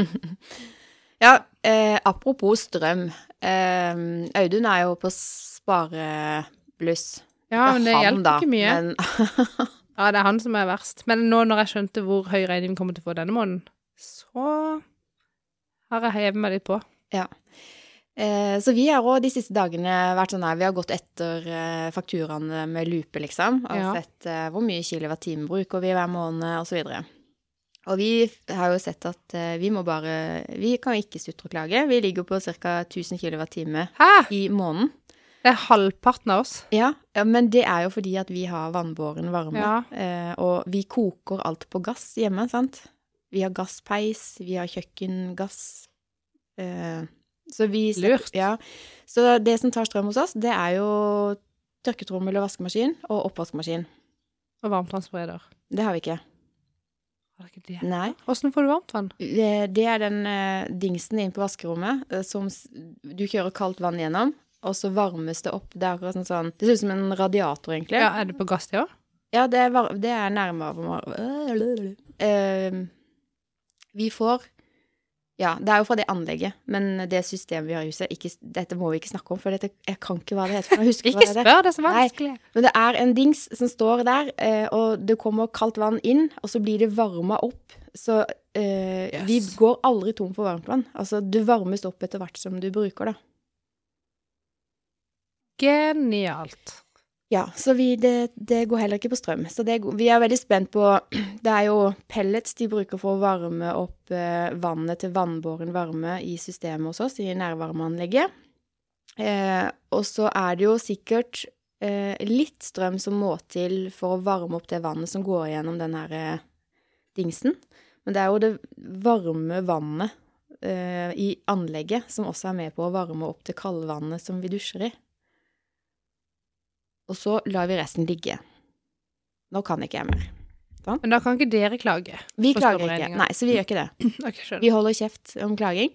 [SPEAKER 2] ja, eh, apropos strøm. Eh, Audun er jo på sparepluss.
[SPEAKER 1] Ja, men det
[SPEAKER 2] han, da,
[SPEAKER 1] hjelper ikke mye.
[SPEAKER 2] Men
[SPEAKER 1] Ja, det er han som er verst. Men nå når jeg skjønte hvor høy regning vi kommer til å få denne måneden, så har jeg hevet meg litt på.
[SPEAKER 2] Eh, Så vi har òg de siste dagene vært sånn her, vi har gått etter eh, fakturaene med lupe, liksom. Og
[SPEAKER 1] Ja.
[SPEAKER 2] sett eh, hvor mye kilowattime bruker vi hver måned, osv. Og vi f- har jo sett at eh, vi må bare Vi kan ikke sutre og klage. Vi ligger på ca. 1000 kilowattime
[SPEAKER 1] Hæ?
[SPEAKER 2] i måneden.
[SPEAKER 1] Det er halvparten av oss.
[SPEAKER 2] Ja, ja, men det er jo fordi at vi har vannbåren varme.
[SPEAKER 1] Ja.
[SPEAKER 2] Eh, og vi koker alt på gass hjemme, sant? Vi har gasspeis, vi har kjøkkengass. Eh, så vi setter-
[SPEAKER 1] Lurt.
[SPEAKER 2] Ja. Så det som tar strøm hos oss, det er jo tørketrommel og vaskemaskin og oppvaskmaskin.
[SPEAKER 1] Og varmtvannsbereder.
[SPEAKER 2] Det har vi ikke.
[SPEAKER 1] Var det ikke det?
[SPEAKER 2] Nei.
[SPEAKER 1] Åssen får du varmtvann?
[SPEAKER 2] Eh, Det er den eh, dingsen inn på vaskerommet eh, som s- du kjører kaldt vann gjennom, og så varmes det opp. Det er akkurat sånn, sånn Det ser ut som en radiator, egentlig.
[SPEAKER 1] Ja, Er det på gass, det òg?
[SPEAKER 2] Ja, det er, var- det er nærmere Eh, Vi får Ja, det er jo fra det anlegget, men det systemet vi har i huset ikke, Dette må vi ikke snakke om, for dette, jeg kan ikke hva det heter. for Jeg husker
[SPEAKER 1] Ikke
[SPEAKER 2] hva det er.
[SPEAKER 1] spør, det er så
[SPEAKER 2] Nei.
[SPEAKER 1] vanskelig.
[SPEAKER 2] Men det er en dings som står der, eh, og det kommer kaldt vann inn, og så blir det varma opp. Så eh, vi
[SPEAKER 1] Yes.
[SPEAKER 2] går aldri tom for varmtvann. Altså, det varmes opp etter hvert som du bruker, da.
[SPEAKER 1] Genialt.
[SPEAKER 2] Ja, så vi, det, det går heller ikke på strøm. Så det, er go- vi er veldig spent på Det er jo pellets de bruker for å varme opp eh, vannet til vannbåren varme i systemet hos oss, i nærvarmeanlegget. Eh, og så er det jo sikkert eh, litt strøm som må til for å varme opp det vannet som går gjennom den her eh, dingsen. Men det er jo det varme vannet eh, i anlegget som også er med på å varme opp det kalde vannet som vi dusjer i. Og så lar vi resten ligge. Nå kan ikke jeg mer.
[SPEAKER 1] Men da kan ikke dere klage.
[SPEAKER 2] Vi
[SPEAKER 1] Forstår
[SPEAKER 2] klager ikke.
[SPEAKER 1] beregningen.
[SPEAKER 2] Nei, så vi gjør ikke det.
[SPEAKER 1] Ok, skjønner.
[SPEAKER 2] Vi holder kjeft om klaging.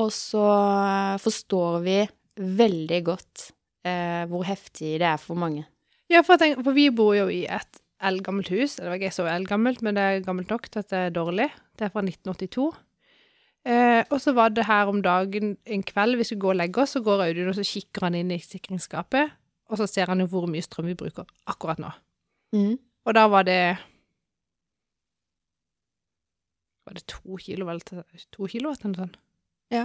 [SPEAKER 2] Og så eh, forstår vi veldig godt eh, hvor heftig det er for mange.
[SPEAKER 1] Ja, for, jeg tenker, for vi bor jo i et eldgammelt hus. Det var ikke så eldgammelt, men det er gammelt nok til at det er dårlig. Det er fra 1982. Eh, og så var det her om dagen en kveld, vi skulle gå og legge oss, så går Audun og så kikker han inn i sikringsskapet, og så ser han jo hvor mye strøm vi bruker akkurat nå.
[SPEAKER 2] Mm.
[SPEAKER 1] Og da var det Var det to kilo, eller to kilo eller noe sånt?
[SPEAKER 2] Ja.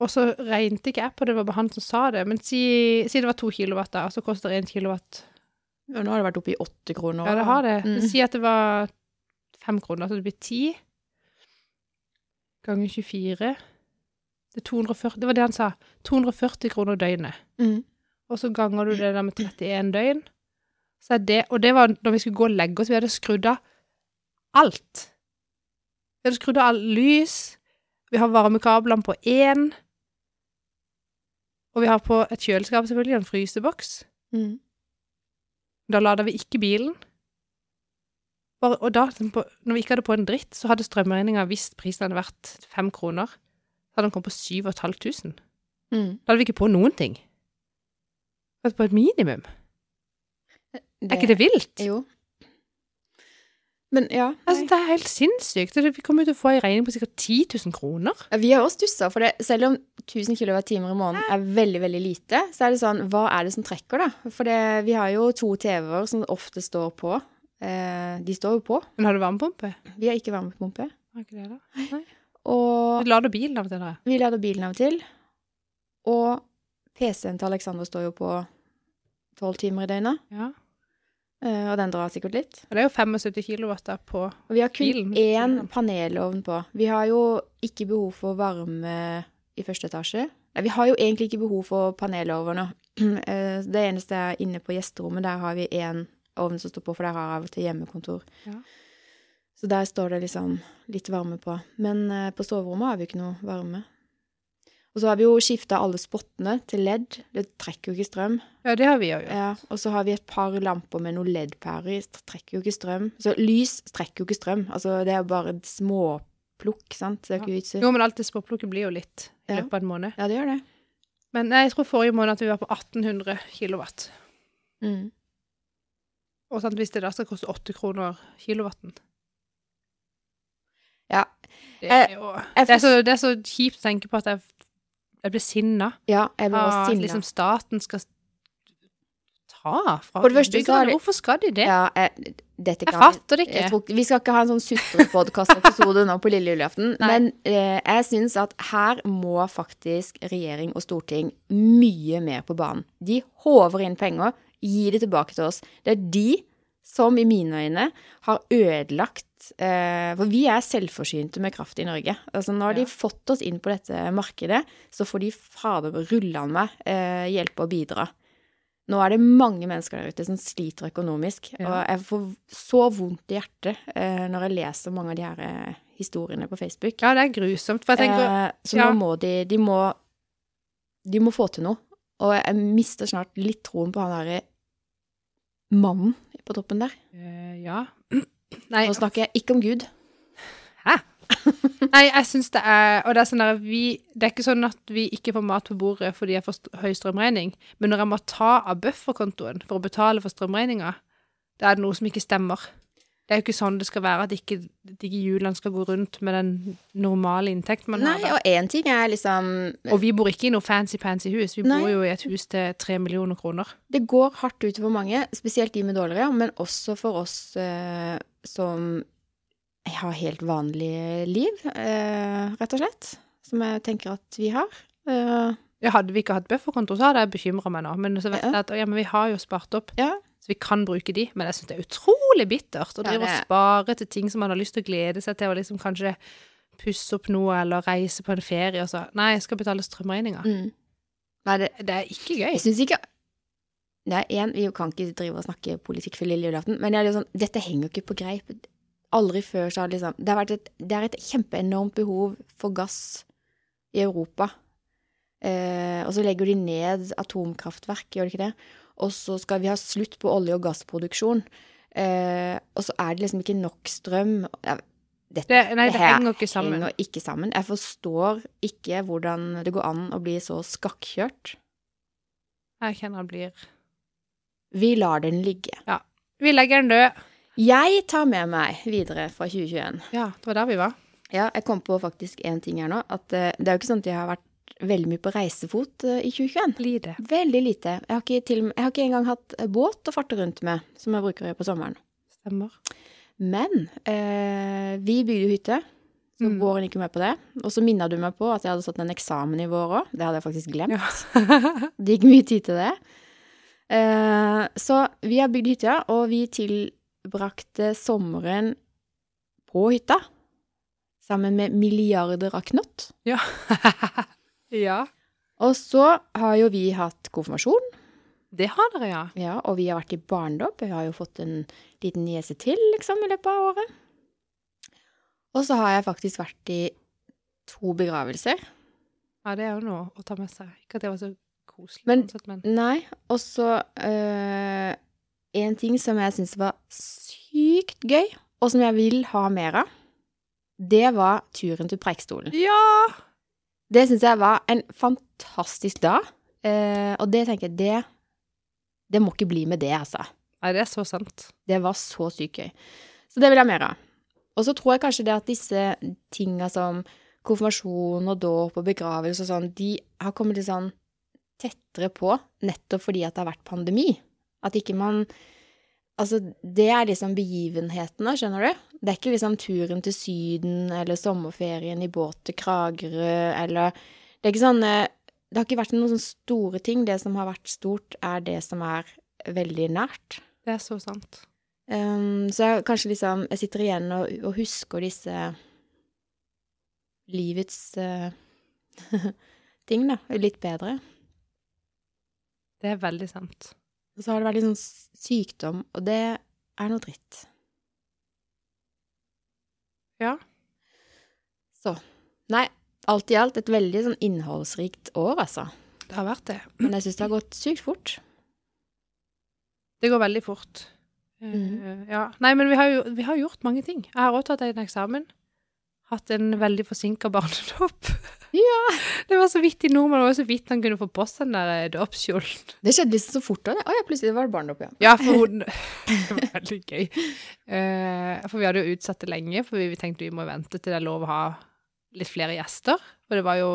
[SPEAKER 1] Og så regnet ikke jeg på det, det var bare han som sa det. Men si, si det var to kilowatt, da, og så koster én kilowatt
[SPEAKER 2] Og nå har det vært oppe i åtte kroner.
[SPEAKER 1] ja, det har det.
[SPEAKER 2] Mm.
[SPEAKER 1] Men Si at det var fem kroner, så det blir ti. Ganger 24. Det, er 240, det var det han sa. 240 kroner døgnet.
[SPEAKER 2] Mm.
[SPEAKER 1] Og så ganger du det der med 31 døgn. Så er det, og det var når vi skulle gå og legge oss, vi hadde skrudd av alt. Vi hadde skrudd av all lys, vi har varmekablene på én, og vi har på et kjøleskap selvfølgelig, en fryseboks.
[SPEAKER 2] Mm.
[SPEAKER 1] Da lader vi ikke bilen. Bare, og da, sånn på, når vi ikke hadde på en dritt, så hadde strømregninga, hvis prisen hadde vært fem kroner, så hadde den kommet på 7500.
[SPEAKER 2] Mm.
[SPEAKER 1] Da hadde vi ikke på noen ting. Altså på et minimum. Er ikke det vilt?
[SPEAKER 2] Jo. Men ja.
[SPEAKER 1] Altså, det er helt sinnssykt. Det- Vi kommer jo til å få ei regning på sikkert 10 000 kroner.
[SPEAKER 2] Ja, Vi har også stussa, for det, selv om 1000 kWt i måneden er veldig veldig lite, så er det sånn Hva er det som trekker, da? For det, vi har jo to TV-er som ofte står på. Eh, de står jo på.
[SPEAKER 1] Men har du varmepumpe?
[SPEAKER 2] Vi har ikke varmepumpe.
[SPEAKER 1] Har ikke det, da?
[SPEAKER 2] Og
[SPEAKER 1] Lader bilen av og til, da?
[SPEAKER 2] vi lader bilen av og til. Og PC-en til Alexander står jo på tolv timer i døgnet.
[SPEAKER 1] Ja. Og
[SPEAKER 2] eh, Og den drar sikkert litt.
[SPEAKER 1] det er jo 75 kilowatt på
[SPEAKER 2] Og vi har kun
[SPEAKER 1] Bilen.
[SPEAKER 2] én panelovn på. Vi har jo ikke behov for varme i første etasje. Nei, vi har jo egentlig ikke behov for panelovner. Eh, Det eneste er inne på gjesterommet. Der har vi én ovn som står på, for der har jeg av og til hjemmekontor.
[SPEAKER 1] Ja.
[SPEAKER 2] Så der står det liksom litt varme på. Men eh, på soverommet har vi ikke noe varme. Og så har vi jo skifta alle spottene til ledd. Det trekker jo ikke strøm.
[SPEAKER 1] Ja, det har vi jo.
[SPEAKER 2] Ja, og så har vi et par lamper med noen LED-pærer i. Det trekker jo ikke strøm. Så lys trekker jo ikke strøm. Altså, det er bare små plukk, sant? Det er jo ikke vits i.
[SPEAKER 1] Jo, men alt det småplukket blir jo litt i
[SPEAKER 2] Ja.
[SPEAKER 1] løpet av en måned.
[SPEAKER 2] Ja, det gjør det.
[SPEAKER 1] Men nei, jeg tror forrige måned at vi var på 1800 kilowatt.
[SPEAKER 2] Mm.
[SPEAKER 1] Og sant, hvis det da skal koste 8 kroner kilowatten
[SPEAKER 2] Ja.
[SPEAKER 1] Det er jo
[SPEAKER 2] Jeg
[SPEAKER 1] det er, så,
[SPEAKER 2] forst-
[SPEAKER 1] det er så kjipt å tenke på at jeg, jeg blir sinna
[SPEAKER 2] ja, jeg blir også
[SPEAKER 1] av at
[SPEAKER 2] sinna.
[SPEAKER 1] liksom staten skal ta fra
[SPEAKER 2] For det første så har
[SPEAKER 1] innbyggerne.
[SPEAKER 2] de-
[SPEAKER 1] Hvorfor skal de det?
[SPEAKER 2] Ja, jeg, dette
[SPEAKER 1] jeg
[SPEAKER 2] kan
[SPEAKER 1] fatter det ikke.
[SPEAKER 2] Jeg tror, ikke- vi skal ikke ha en sånn sutrepodkast-episode nå på lille julaften,
[SPEAKER 1] Nei.
[SPEAKER 2] men eh, jeg syns at her må faktisk regjering og storting mye mer på banen. De håver inn penger, gir det tilbake til oss. Det er de som i mine øyne har ødelagt eh, For vi er selvforsynte med kraft i Norge. Altså Når
[SPEAKER 1] Ja.
[SPEAKER 2] de fått oss inn på dette markedet, så får de fader rullende meg eh, hjelpe og bidra. Nå er det mange mennesker der ute som sliter økonomisk,
[SPEAKER 1] Ja.
[SPEAKER 2] og jeg får så vondt i hjertet eh, når jeg leser mange av de her eh, historiene på Facebook.
[SPEAKER 1] Ja, det er grusomt. For jeg tenker
[SPEAKER 2] eh, så
[SPEAKER 1] ja.
[SPEAKER 2] nå må de de må, de må få til noe. Og jeg mister snart litt troen på han derre mannen på toppen der.
[SPEAKER 1] eh, Ja. Nei,
[SPEAKER 2] Nå snakker jeg ikke om Gud.
[SPEAKER 1] nei, jeg syns det er Og det er sånn der vi Det er ikke sånn at vi ikke får mat på bordet fordi jeg får st- høy strømregning, men når jeg må ta av bufferkontoen for å betale for strømregninga, da er det noe som ikke stemmer. Det er jo ikke sånn det skal være, at ikke, at ikke hjulene skal gå rundt med den normale inntekten man
[SPEAKER 2] Nei,
[SPEAKER 1] har. da.
[SPEAKER 2] og én ting er liksom
[SPEAKER 1] Og vi bor ikke i noe fancy-pansy hus. Vi
[SPEAKER 2] Nei.
[SPEAKER 1] bor jo i et hus til tre millioner kroner.
[SPEAKER 2] Det går hardt ut for mange, spesielt de med dårligere, men også for oss eh, som har helt vanlige liv, eh, rett og slett. Som jeg tenker at vi har. Eh,
[SPEAKER 1] Ja, hadde vi ikke hatt bufferkonto, så hadde jeg bekymra meg nå. Men så vet
[SPEAKER 2] Ja.
[SPEAKER 1] jeg at ja, men vi har jo spart opp,
[SPEAKER 2] Ja.
[SPEAKER 1] så vi kan bruke de. Men jeg syns det er utrolig bittert å
[SPEAKER 2] Ja,
[SPEAKER 1] drive
[SPEAKER 2] det-
[SPEAKER 1] og spare til ting som man har lyst til å glede seg til, og liksom kanskje pusse opp noe eller reise på en ferie og så Nei, jeg skal betale strømregninga.
[SPEAKER 2] mm. Nei, det,
[SPEAKER 1] Det er ikke gøy.
[SPEAKER 2] jeg syns ikke Det er én, vi kan ikke drive og snakke politikk for lille julaften, men jeg er litt sånn, dette henger jo ikke på greip. Aldri før så har det liksom Det, har vært et, det er et kjempeenormt behov for gass i Europa. Eh, og så legger de ned atomkraftverk, gjør de ikke det? Og så skal vi ha slutt på olje- og gassproduksjon. Eh, og så er det liksom ikke nok strøm. Ja, Dette,
[SPEAKER 1] Det, nei, det
[SPEAKER 2] her
[SPEAKER 1] henger ikke sammen.
[SPEAKER 2] henger ikke sammen. Jeg forstår ikke hvordan det går an å bli så skakkjørt.
[SPEAKER 1] Jeg kjenner han blir
[SPEAKER 2] Vi lar den ligge.
[SPEAKER 1] Vi legger den død.
[SPEAKER 2] Jeg tar med meg videre fra 2021.
[SPEAKER 1] Ja, det var der vi var.
[SPEAKER 2] Ja, jeg kom på faktisk én ting her nå. At eh, det er jo ikke sånn at jeg har vært veldig mye på reisefot eh, i 2021.
[SPEAKER 1] Lite.
[SPEAKER 2] Veldig lite. Jeg har ikke, til, og med- jeg har ikke engang hatt eh, båt å farte rundt med, som jeg bruker å gjøre på sommeren.
[SPEAKER 1] Stemmer.
[SPEAKER 2] Men eh, vi bygde jo hytte, så
[SPEAKER 1] Mm.
[SPEAKER 2] våren gikk jo med på det. Og så minna du meg på at jeg hadde stått en eksamen i vår òg. Det hadde jeg faktisk glemt. Det gikk mye tid til det. Eh, så vi har bygd hytta, og vi tilbrakte sommeren på hytta. Sammen med milliarder av knott.
[SPEAKER 1] ja.
[SPEAKER 2] Og så har jo vi hatt konfirmasjon,
[SPEAKER 1] Det har dere, ja.
[SPEAKER 2] ja, og vi har vært i barnedåp. Vi har jo fått en liten niese til liksom, i løpet av året. Og så har jeg faktisk vært i to begravelser.
[SPEAKER 1] Ja, det er jo noe å ta med seg. Ikke at det var så koselig,
[SPEAKER 2] Men-
[SPEAKER 1] sånn sett, men
[SPEAKER 2] Nei, og så eh, En ting som jeg syntes var sykt gøy, og som jeg vil ha mer av, det var turen til Preikestolen.
[SPEAKER 1] Ja!
[SPEAKER 2] Det syns jeg var en fantastisk dag, eh, og det tenker jeg det, det må ikke bli med det, altså.
[SPEAKER 1] Nei, det er så sant.
[SPEAKER 2] Det var så sykt gøy. Så det vil jeg ha mer av. Og så tror jeg kanskje det at disse tinga som konfirmasjon og dåp og begravelse og sånn, de har kommet litt sånn tettere på nettopp fordi at det har vært pandemi. At ikke man Altså, det er liksom begivenhetene, skjønner du? Det er ikke liksom turen til Syden eller sommerferien i båt til Kragerø eller Det er ikke sånn eh, Det har ikke vært noen sånne store ting. Det som har vært stort, er det som er veldig nært.
[SPEAKER 1] Det er så sant.
[SPEAKER 2] Um, så jeg, kanskje liksom, jeg sitter igjen og, og husker disse livets eh, ting, da, litt bedre.
[SPEAKER 1] Det er veldig sant.
[SPEAKER 2] Og så har det vært litt sånn s- sykdom, og det er noe dritt.
[SPEAKER 1] Ja.
[SPEAKER 2] Så. Nei, alt i alt et veldig sånn innholdsrikt år, altså.
[SPEAKER 1] Det har vært det.
[SPEAKER 2] Men jeg syns det har gått sykt fort.
[SPEAKER 1] Det går veldig fort. Eh,
[SPEAKER 2] Mhm.
[SPEAKER 1] ja. Nei, men vi har, jo, vi har gjort mange ting. Jeg har også tatt en eksamen. hatt en veldig forsinka barnedåp. Ja. Det var så vidt i nordmenn, det var så vidt han kunne få på seg den der eh, dåpskjolen.
[SPEAKER 2] Det skjedde liksom så fort. da. Å ja, plutselig var det barnedåp, ja.
[SPEAKER 1] Ja, for hun Det var veldig gøy. Eh, for vi hadde jo utsatt det lenge, for vi tenkte vi må vente til det er lov å ha litt flere gjester. For det var jo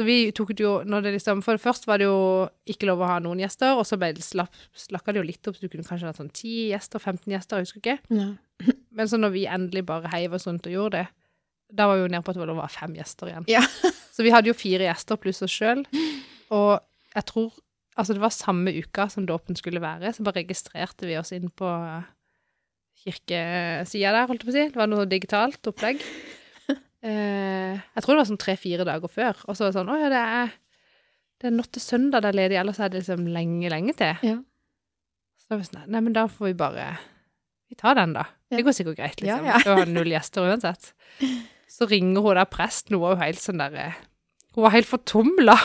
[SPEAKER 1] Så vi tok det jo når det liksom For det først var det jo ikke lov å ha noen gjester, og så ble det slapp, slakka det jo litt opp, så du kunne kanskje hatt sånn 10 gjester, 15 gjester, jeg husker ikke.
[SPEAKER 2] ja.
[SPEAKER 1] Men så når vi endelig bare heiv oss rundt og gjorde det, da var vi jo nede på at det var fem gjester igjen.
[SPEAKER 2] Ja.
[SPEAKER 1] så vi hadde jo fire gjester pluss oss sjøl. Og jeg tror Altså, det var samme uka som dåpen skulle være, så bare registrerte vi oss inn på eh, kirkesida der, holdt jeg på å si. Det var noe digitalt opplegg. Eh, jeg tror det var sånn tre-fire dager før. Og så var det sånn Å ja, det er, det er natt til søndag det er ledig, ellers er det liksom lenge, lenge til.
[SPEAKER 2] Ja.
[SPEAKER 1] Så da var vi sånn Nei, men da får vi bare Vi tar den, da.
[SPEAKER 2] Ja.
[SPEAKER 1] Det går sikkert greit, liksom.
[SPEAKER 2] Ja, ja.
[SPEAKER 1] Det var null gjester uansett. Så ringer hun der presten, hun var jo helt sånn der eh, Hun var helt fortumla.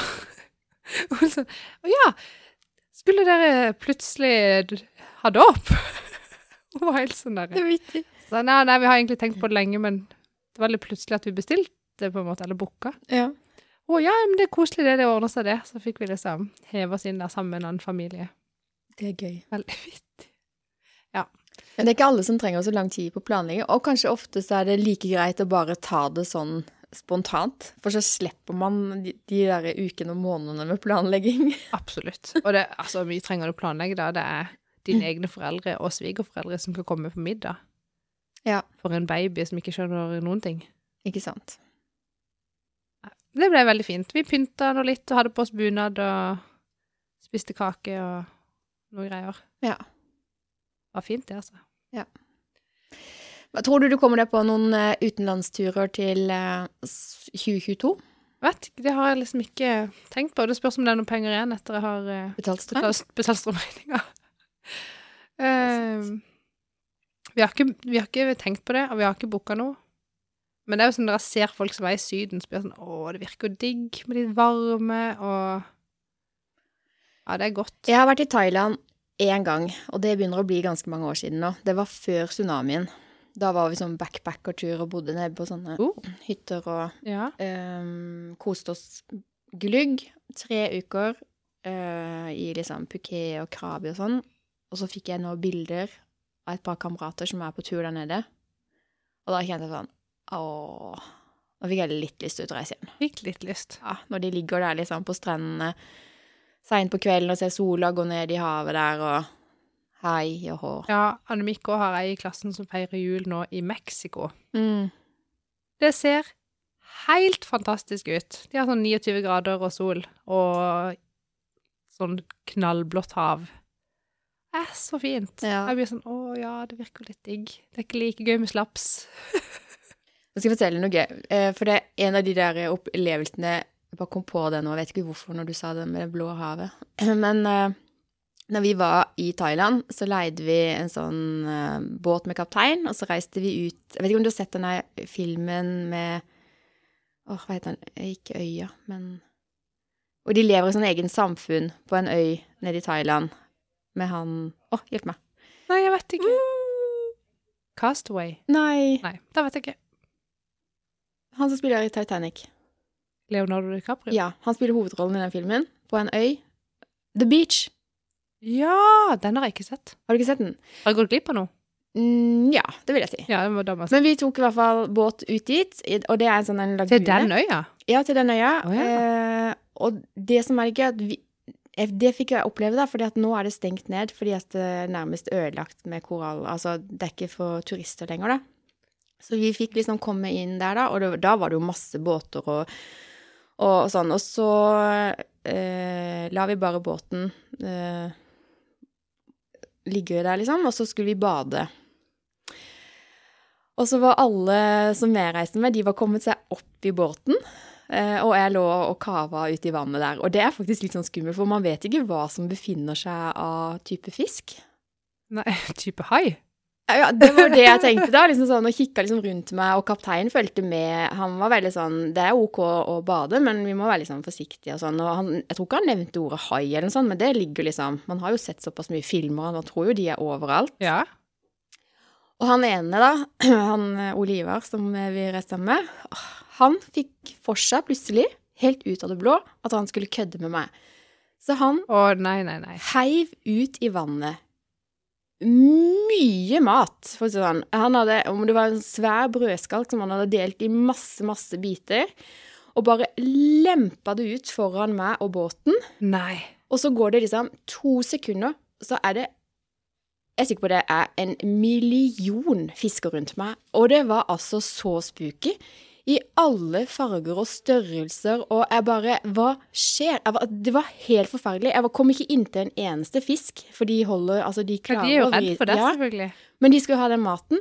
[SPEAKER 1] Hun sånn Å ja, skulle dere plutselig d- ha dåp? Hun var helt sånn der
[SPEAKER 2] Det er vittig.
[SPEAKER 1] så, nei, nei, vi har egentlig tenkt på det lenge, men det var litt plutselig at vi bestilte, på en måte, eller booka.
[SPEAKER 2] Ja.
[SPEAKER 1] Å ja, men det er koselig, det. Det ordner seg, det. Så fikk vi liksom heve oss inn der sammen med en annen familie.
[SPEAKER 2] Det er gøy.
[SPEAKER 1] Veldig vittig.
[SPEAKER 2] Men det er ikke alle som trenger så lang tid på planlegging, og kanskje ofte så er det like greit å bare ta det sånn spontant, for så slipper man de, de der ukene og månedene med planlegging.
[SPEAKER 1] Absolutt. Og det, altså, vi trenger å planlegge da. Det er dine egne foreldre og svigerforeldre som skal komme på middag.
[SPEAKER 2] Ja.
[SPEAKER 1] For en baby som ikke skjønner noen ting.
[SPEAKER 2] Ikke sant?
[SPEAKER 1] Det ble veldig fint. Vi pynta nå litt og hadde på oss bunad og spiste kake og noe greier.
[SPEAKER 2] Ja.
[SPEAKER 1] Det var fint, det, altså.
[SPEAKER 2] Hva- Tror du du kommer deg på noen eh, utenlandsturer til eh, s- 2022?
[SPEAKER 1] Vet ikke, det har jeg liksom ikke tenkt på. Det spørs om det er noen penger igjen etter jeg har eh,
[SPEAKER 2] Betalt strøm?
[SPEAKER 1] betalt, betalt strømregninga. Eh, vi, har ikke- vi har ikke tenkt på det, og vi har ikke booka noe. Men det er jo sånn når jeg ser folk som er i Syden, så blir jeg sånn Å, det virker jo digg med litt varme og Ja, det er godt.
[SPEAKER 2] Jeg har vært i Thailand én gang, og det begynner å bli ganske mange år siden nå. Det var før tsunamien. Da var vi sånn backpackertur og bodde nede på sånne
[SPEAKER 1] Oh.
[SPEAKER 2] hytter og
[SPEAKER 1] Ja.
[SPEAKER 2] um, koste oss glugg tre uker eh, i liksom Phuket og Krabi og sånn. Og så fikk jeg nå bilder av et par kamerater som er på tur der nede. Og da kjente jeg sånn Åh. Nå fikk jeg litt lyst til å reise hjem.
[SPEAKER 1] Fikk litt lyst.
[SPEAKER 2] Ja, når de ligger der liksom på strendene seint på kvelden og ser sola gå ned i havet der og Hei og hå.
[SPEAKER 1] Ja, Anne Mikko har ei i klassen som feirer jul nå i Mexico.
[SPEAKER 2] Mm.
[SPEAKER 1] Det ser helt fantastisk ut. De har sånn 29 grader og sol og sånn knallblått hav. Det er så fint.
[SPEAKER 2] Ja.
[SPEAKER 1] Jeg blir sånn Å ja, det virker litt digg. Det er ikke like gøy med slaps.
[SPEAKER 2] Nå skal jeg fortelle noe gøy. Eh, For det er en av de der opplevelsene Jeg bare kom på det nå, jeg vet ikke hvorfor når du sa det med det blå havet. Men eh, når vi var i Thailand, så leide vi en sånn eh, båt med kaptein, og så reiste vi ut Jeg vet ikke om du har sett den der filmen med Åh, hva heter den? Eh, Ikke øya, men Og de lever i sånn egen samfunn på en øy nede i Thailand med han Åh, hjelp meg.
[SPEAKER 1] Nei, jeg vet ikke. Castaway?
[SPEAKER 2] Nei.
[SPEAKER 1] Nei, da vet jeg ikke.
[SPEAKER 2] Han som spiller i Titanic.
[SPEAKER 1] Leonardo DiCaprio?
[SPEAKER 2] Ja, han spiller hovedrollen i den filmen på en øy. The Beach.
[SPEAKER 1] Ja, den har jeg ikke sett.
[SPEAKER 2] Har du ikke sett den?
[SPEAKER 1] Har jeg gått glipp av noe?
[SPEAKER 2] Mm, ja, det vil jeg si.
[SPEAKER 1] Ja, det må da må jeg
[SPEAKER 2] Men vi tok i hvert fall båt ut dit, i- og det er en sånn en lagune.
[SPEAKER 1] Til den øya?
[SPEAKER 2] Ja, til den øya.
[SPEAKER 1] Å, ja.
[SPEAKER 2] eh, og det som er gøy, at vi, eh, det fikk jeg oppleve, da, fordi at nå er det stengt ned fordi at det er nærmest ødelagt med korall. Altså, det er ikke for turister lenger, da. Så vi fikk liksom komme inn der, da, og det, da var det jo masse båter og, og sånn. Og så eh, la vi bare båten eh, ligge der, liksom, og så skulle vi bade. Og så var alle som jeg reiste med, de var kommet seg opp i båten. eh, Og jeg lå og kava ute i vannet der. Og det er faktisk litt sånn skummelt, for man vet ikke hva som befinner seg av type fisk. Eh,
[SPEAKER 1] Nei, type hai?
[SPEAKER 2] Ja, Ja, det var det jeg tenkte da. liksom sånn, Og kikka liksom rundt meg, og kapteinen fulgte med. Han var veldig sånn Det er ok å bade, men vi må være litt sånn forsiktige og sånn. Og han, jeg tror ikke han nevnte ordet hai eller noe sånt, men det ligger liksom Man har jo sett såpass mye filmer, og man tror jo de er overalt.
[SPEAKER 1] Ja.
[SPEAKER 2] Og Og han ene, da, han eh, Ole Ivar, som eh, vi reiste sammen med, åh, han fikk for seg plutselig, helt ut av det blå, at han skulle kødde med meg. Så han
[SPEAKER 1] Å, nei, nei, nei.
[SPEAKER 2] heiv ut i vannet mye mat, for å si det sånn. Han hadde, om det var en svær brødskalk som han hadde delt i masse, masse biter, og bare lempa det ut foran meg og båten.
[SPEAKER 1] Nei.
[SPEAKER 2] Og så går det liksom to sekunder, så er det Jeg er sikker på det er en million fisker rundt meg. Og det var altså så spooky. I alle farger og størrelser, og jeg bare Hva skjer? Jeg var, det var helt forferdelig. Jeg var, kom ikke inntil en eneste fisk, for de holder Altså, de
[SPEAKER 1] Ja,
[SPEAKER 2] klarer
[SPEAKER 1] de er jo
[SPEAKER 2] å
[SPEAKER 1] redd
[SPEAKER 2] vri-
[SPEAKER 1] for det,
[SPEAKER 2] Ja.
[SPEAKER 1] selvfølgelig.
[SPEAKER 2] Men de skulle ha den maten.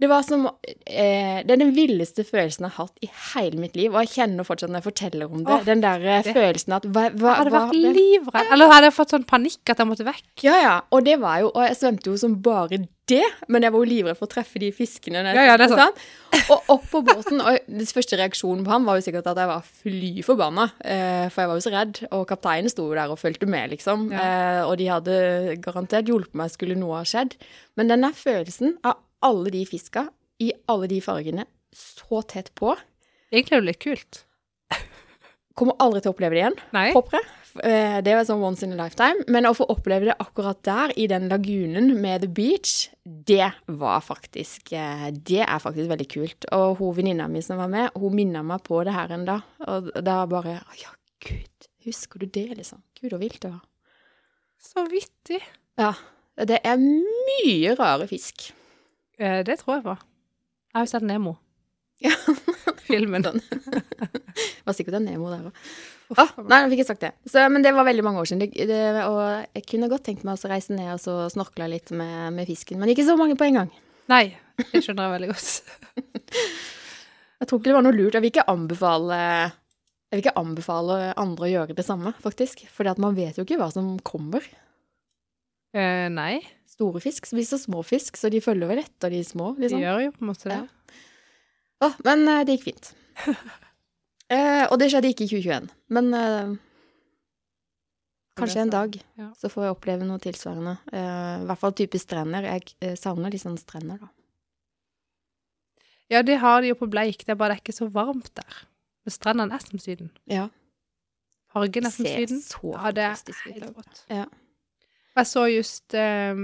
[SPEAKER 2] Det var som eh, Det er den villeste følelsen jeg har hatt i hele mitt liv. Og jeg kjenner fortsatt når jeg forteller om det.
[SPEAKER 1] Åh,
[SPEAKER 2] den der eh,
[SPEAKER 1] det-
[SPEAKER 2] følelsen at hva, hva,
[SPEAKER 1] Jeg hadde
[SPEAKER 2] hva
[SPEAKER 1] vært livredd. Eller hadde jeg fått sånn panikk at jeg måtte vekk.
[SPEAKER 2] Ja, ja. Og det var jo Og jeg svømte jo som bare det, men jeg var jo livredd for å treffe de fiskene. når jeg
[SPEAKER 1] Ja, ja, det er sant.
[SPEAKER 2] svømte, sant? Og opp på båten. Og den første reaksjonen på han var jo sikkert at jeg var fly forbanna, eh, for jeg var jo så redd. Og kapteinen sto jo der og fulgte med, liksom. Eh, og de hadde garantert hjulpet meg skulle noe ha skjedd. Men denne følelsen av alle de fiska i alle de fargene så tett på,
[SPEAKER 1] Egentlig er det jo litt kult.
[SPEAKER 2] kommer aldri til å oppleve det igjen
[SPEAKER 1] Nei.
[SPEAKER 2] håper jeg. Eh, Det var sånn once in a lifetime. Men å få oppleve det akkurat der, i den lagunen med The Beach, det var faktisk eh, Det er faktisk veldig kult. Og hun venninna mi som var med, hun minna meg på det her en dag. Og da bare Å ja, gud, husker du det, liksom? Gud, så vilt det var.
[SPEAKER 1] Så vittig.
[SPEAKER 2] Ja. Det er mye rare fisk.
[SPEAKER 1] Eh, Det tror jeg på. Jeg har jo sett Nemo.
[SPEAKER 2] Ja.
[SPEAKER 1] Filmen.
[SPEAKER 2] Sånn. Det var sikkert en Nemo der òg. Ah, nei, nå fikk jeg sagt det. Så, men det var veldig mange år siden. Det, det, og jeg kunne godt tenkt meg å reise ned og så snorkla litt med, med fisken, men ikke så mange på en gang.
[SPEAKER 1] Nei, det skjønner jeg veldig godt.
[SPEAKER 2] Jeg tror ikke det var noe lurt. Jeg vil ikke anbefale, jeg vil ikke anbefale andre å gjøre det samme, faktisk. For man vet jo ikke hva som kommer.
[SPEAKER 1] Eh, nei,
[SPEAKER 2] Store fisk blir så små fisk, så de følger vel etter de små.
[SPEAKER 1] de
[SPEAKER 2] Liksom.
[SPEAKER 1] gjør jo på en måte det.
[SPEAKER 2] Ja. Å, men eh, det gikk fint. Eh, og det skjedde ikke i 2021. Men eh, kanskje en dag
[SPEAKER 1] Ja.
[SPEAKER 2] så får jeg oppleve noe tilsvarende. Eh, I hvert fall type strender. Jeg eh, savner litt sånn strender, da.
[SPEAKER 1] Ja, det har de jo på Bleik. Det er bare det er ikke så varmt der. Men strendene er som Syden.
[SPEAKER 2] Ja.
[SPEAKER 1] Fargen er som
[SPEAKER 2] Ser
[SPEAKER 1] Syden.
[SPEAKER 2] så
[SPEAKER 1] Ja, det er
[SPEAKER 2] fantastisk ut.
[SPEAKER 1] helt
[SPEAKER 2] da.
[SPEAKER 1] rått.
[SPEAKER 2] Ja.
[SPEAKER 1] Jeg så just ehm,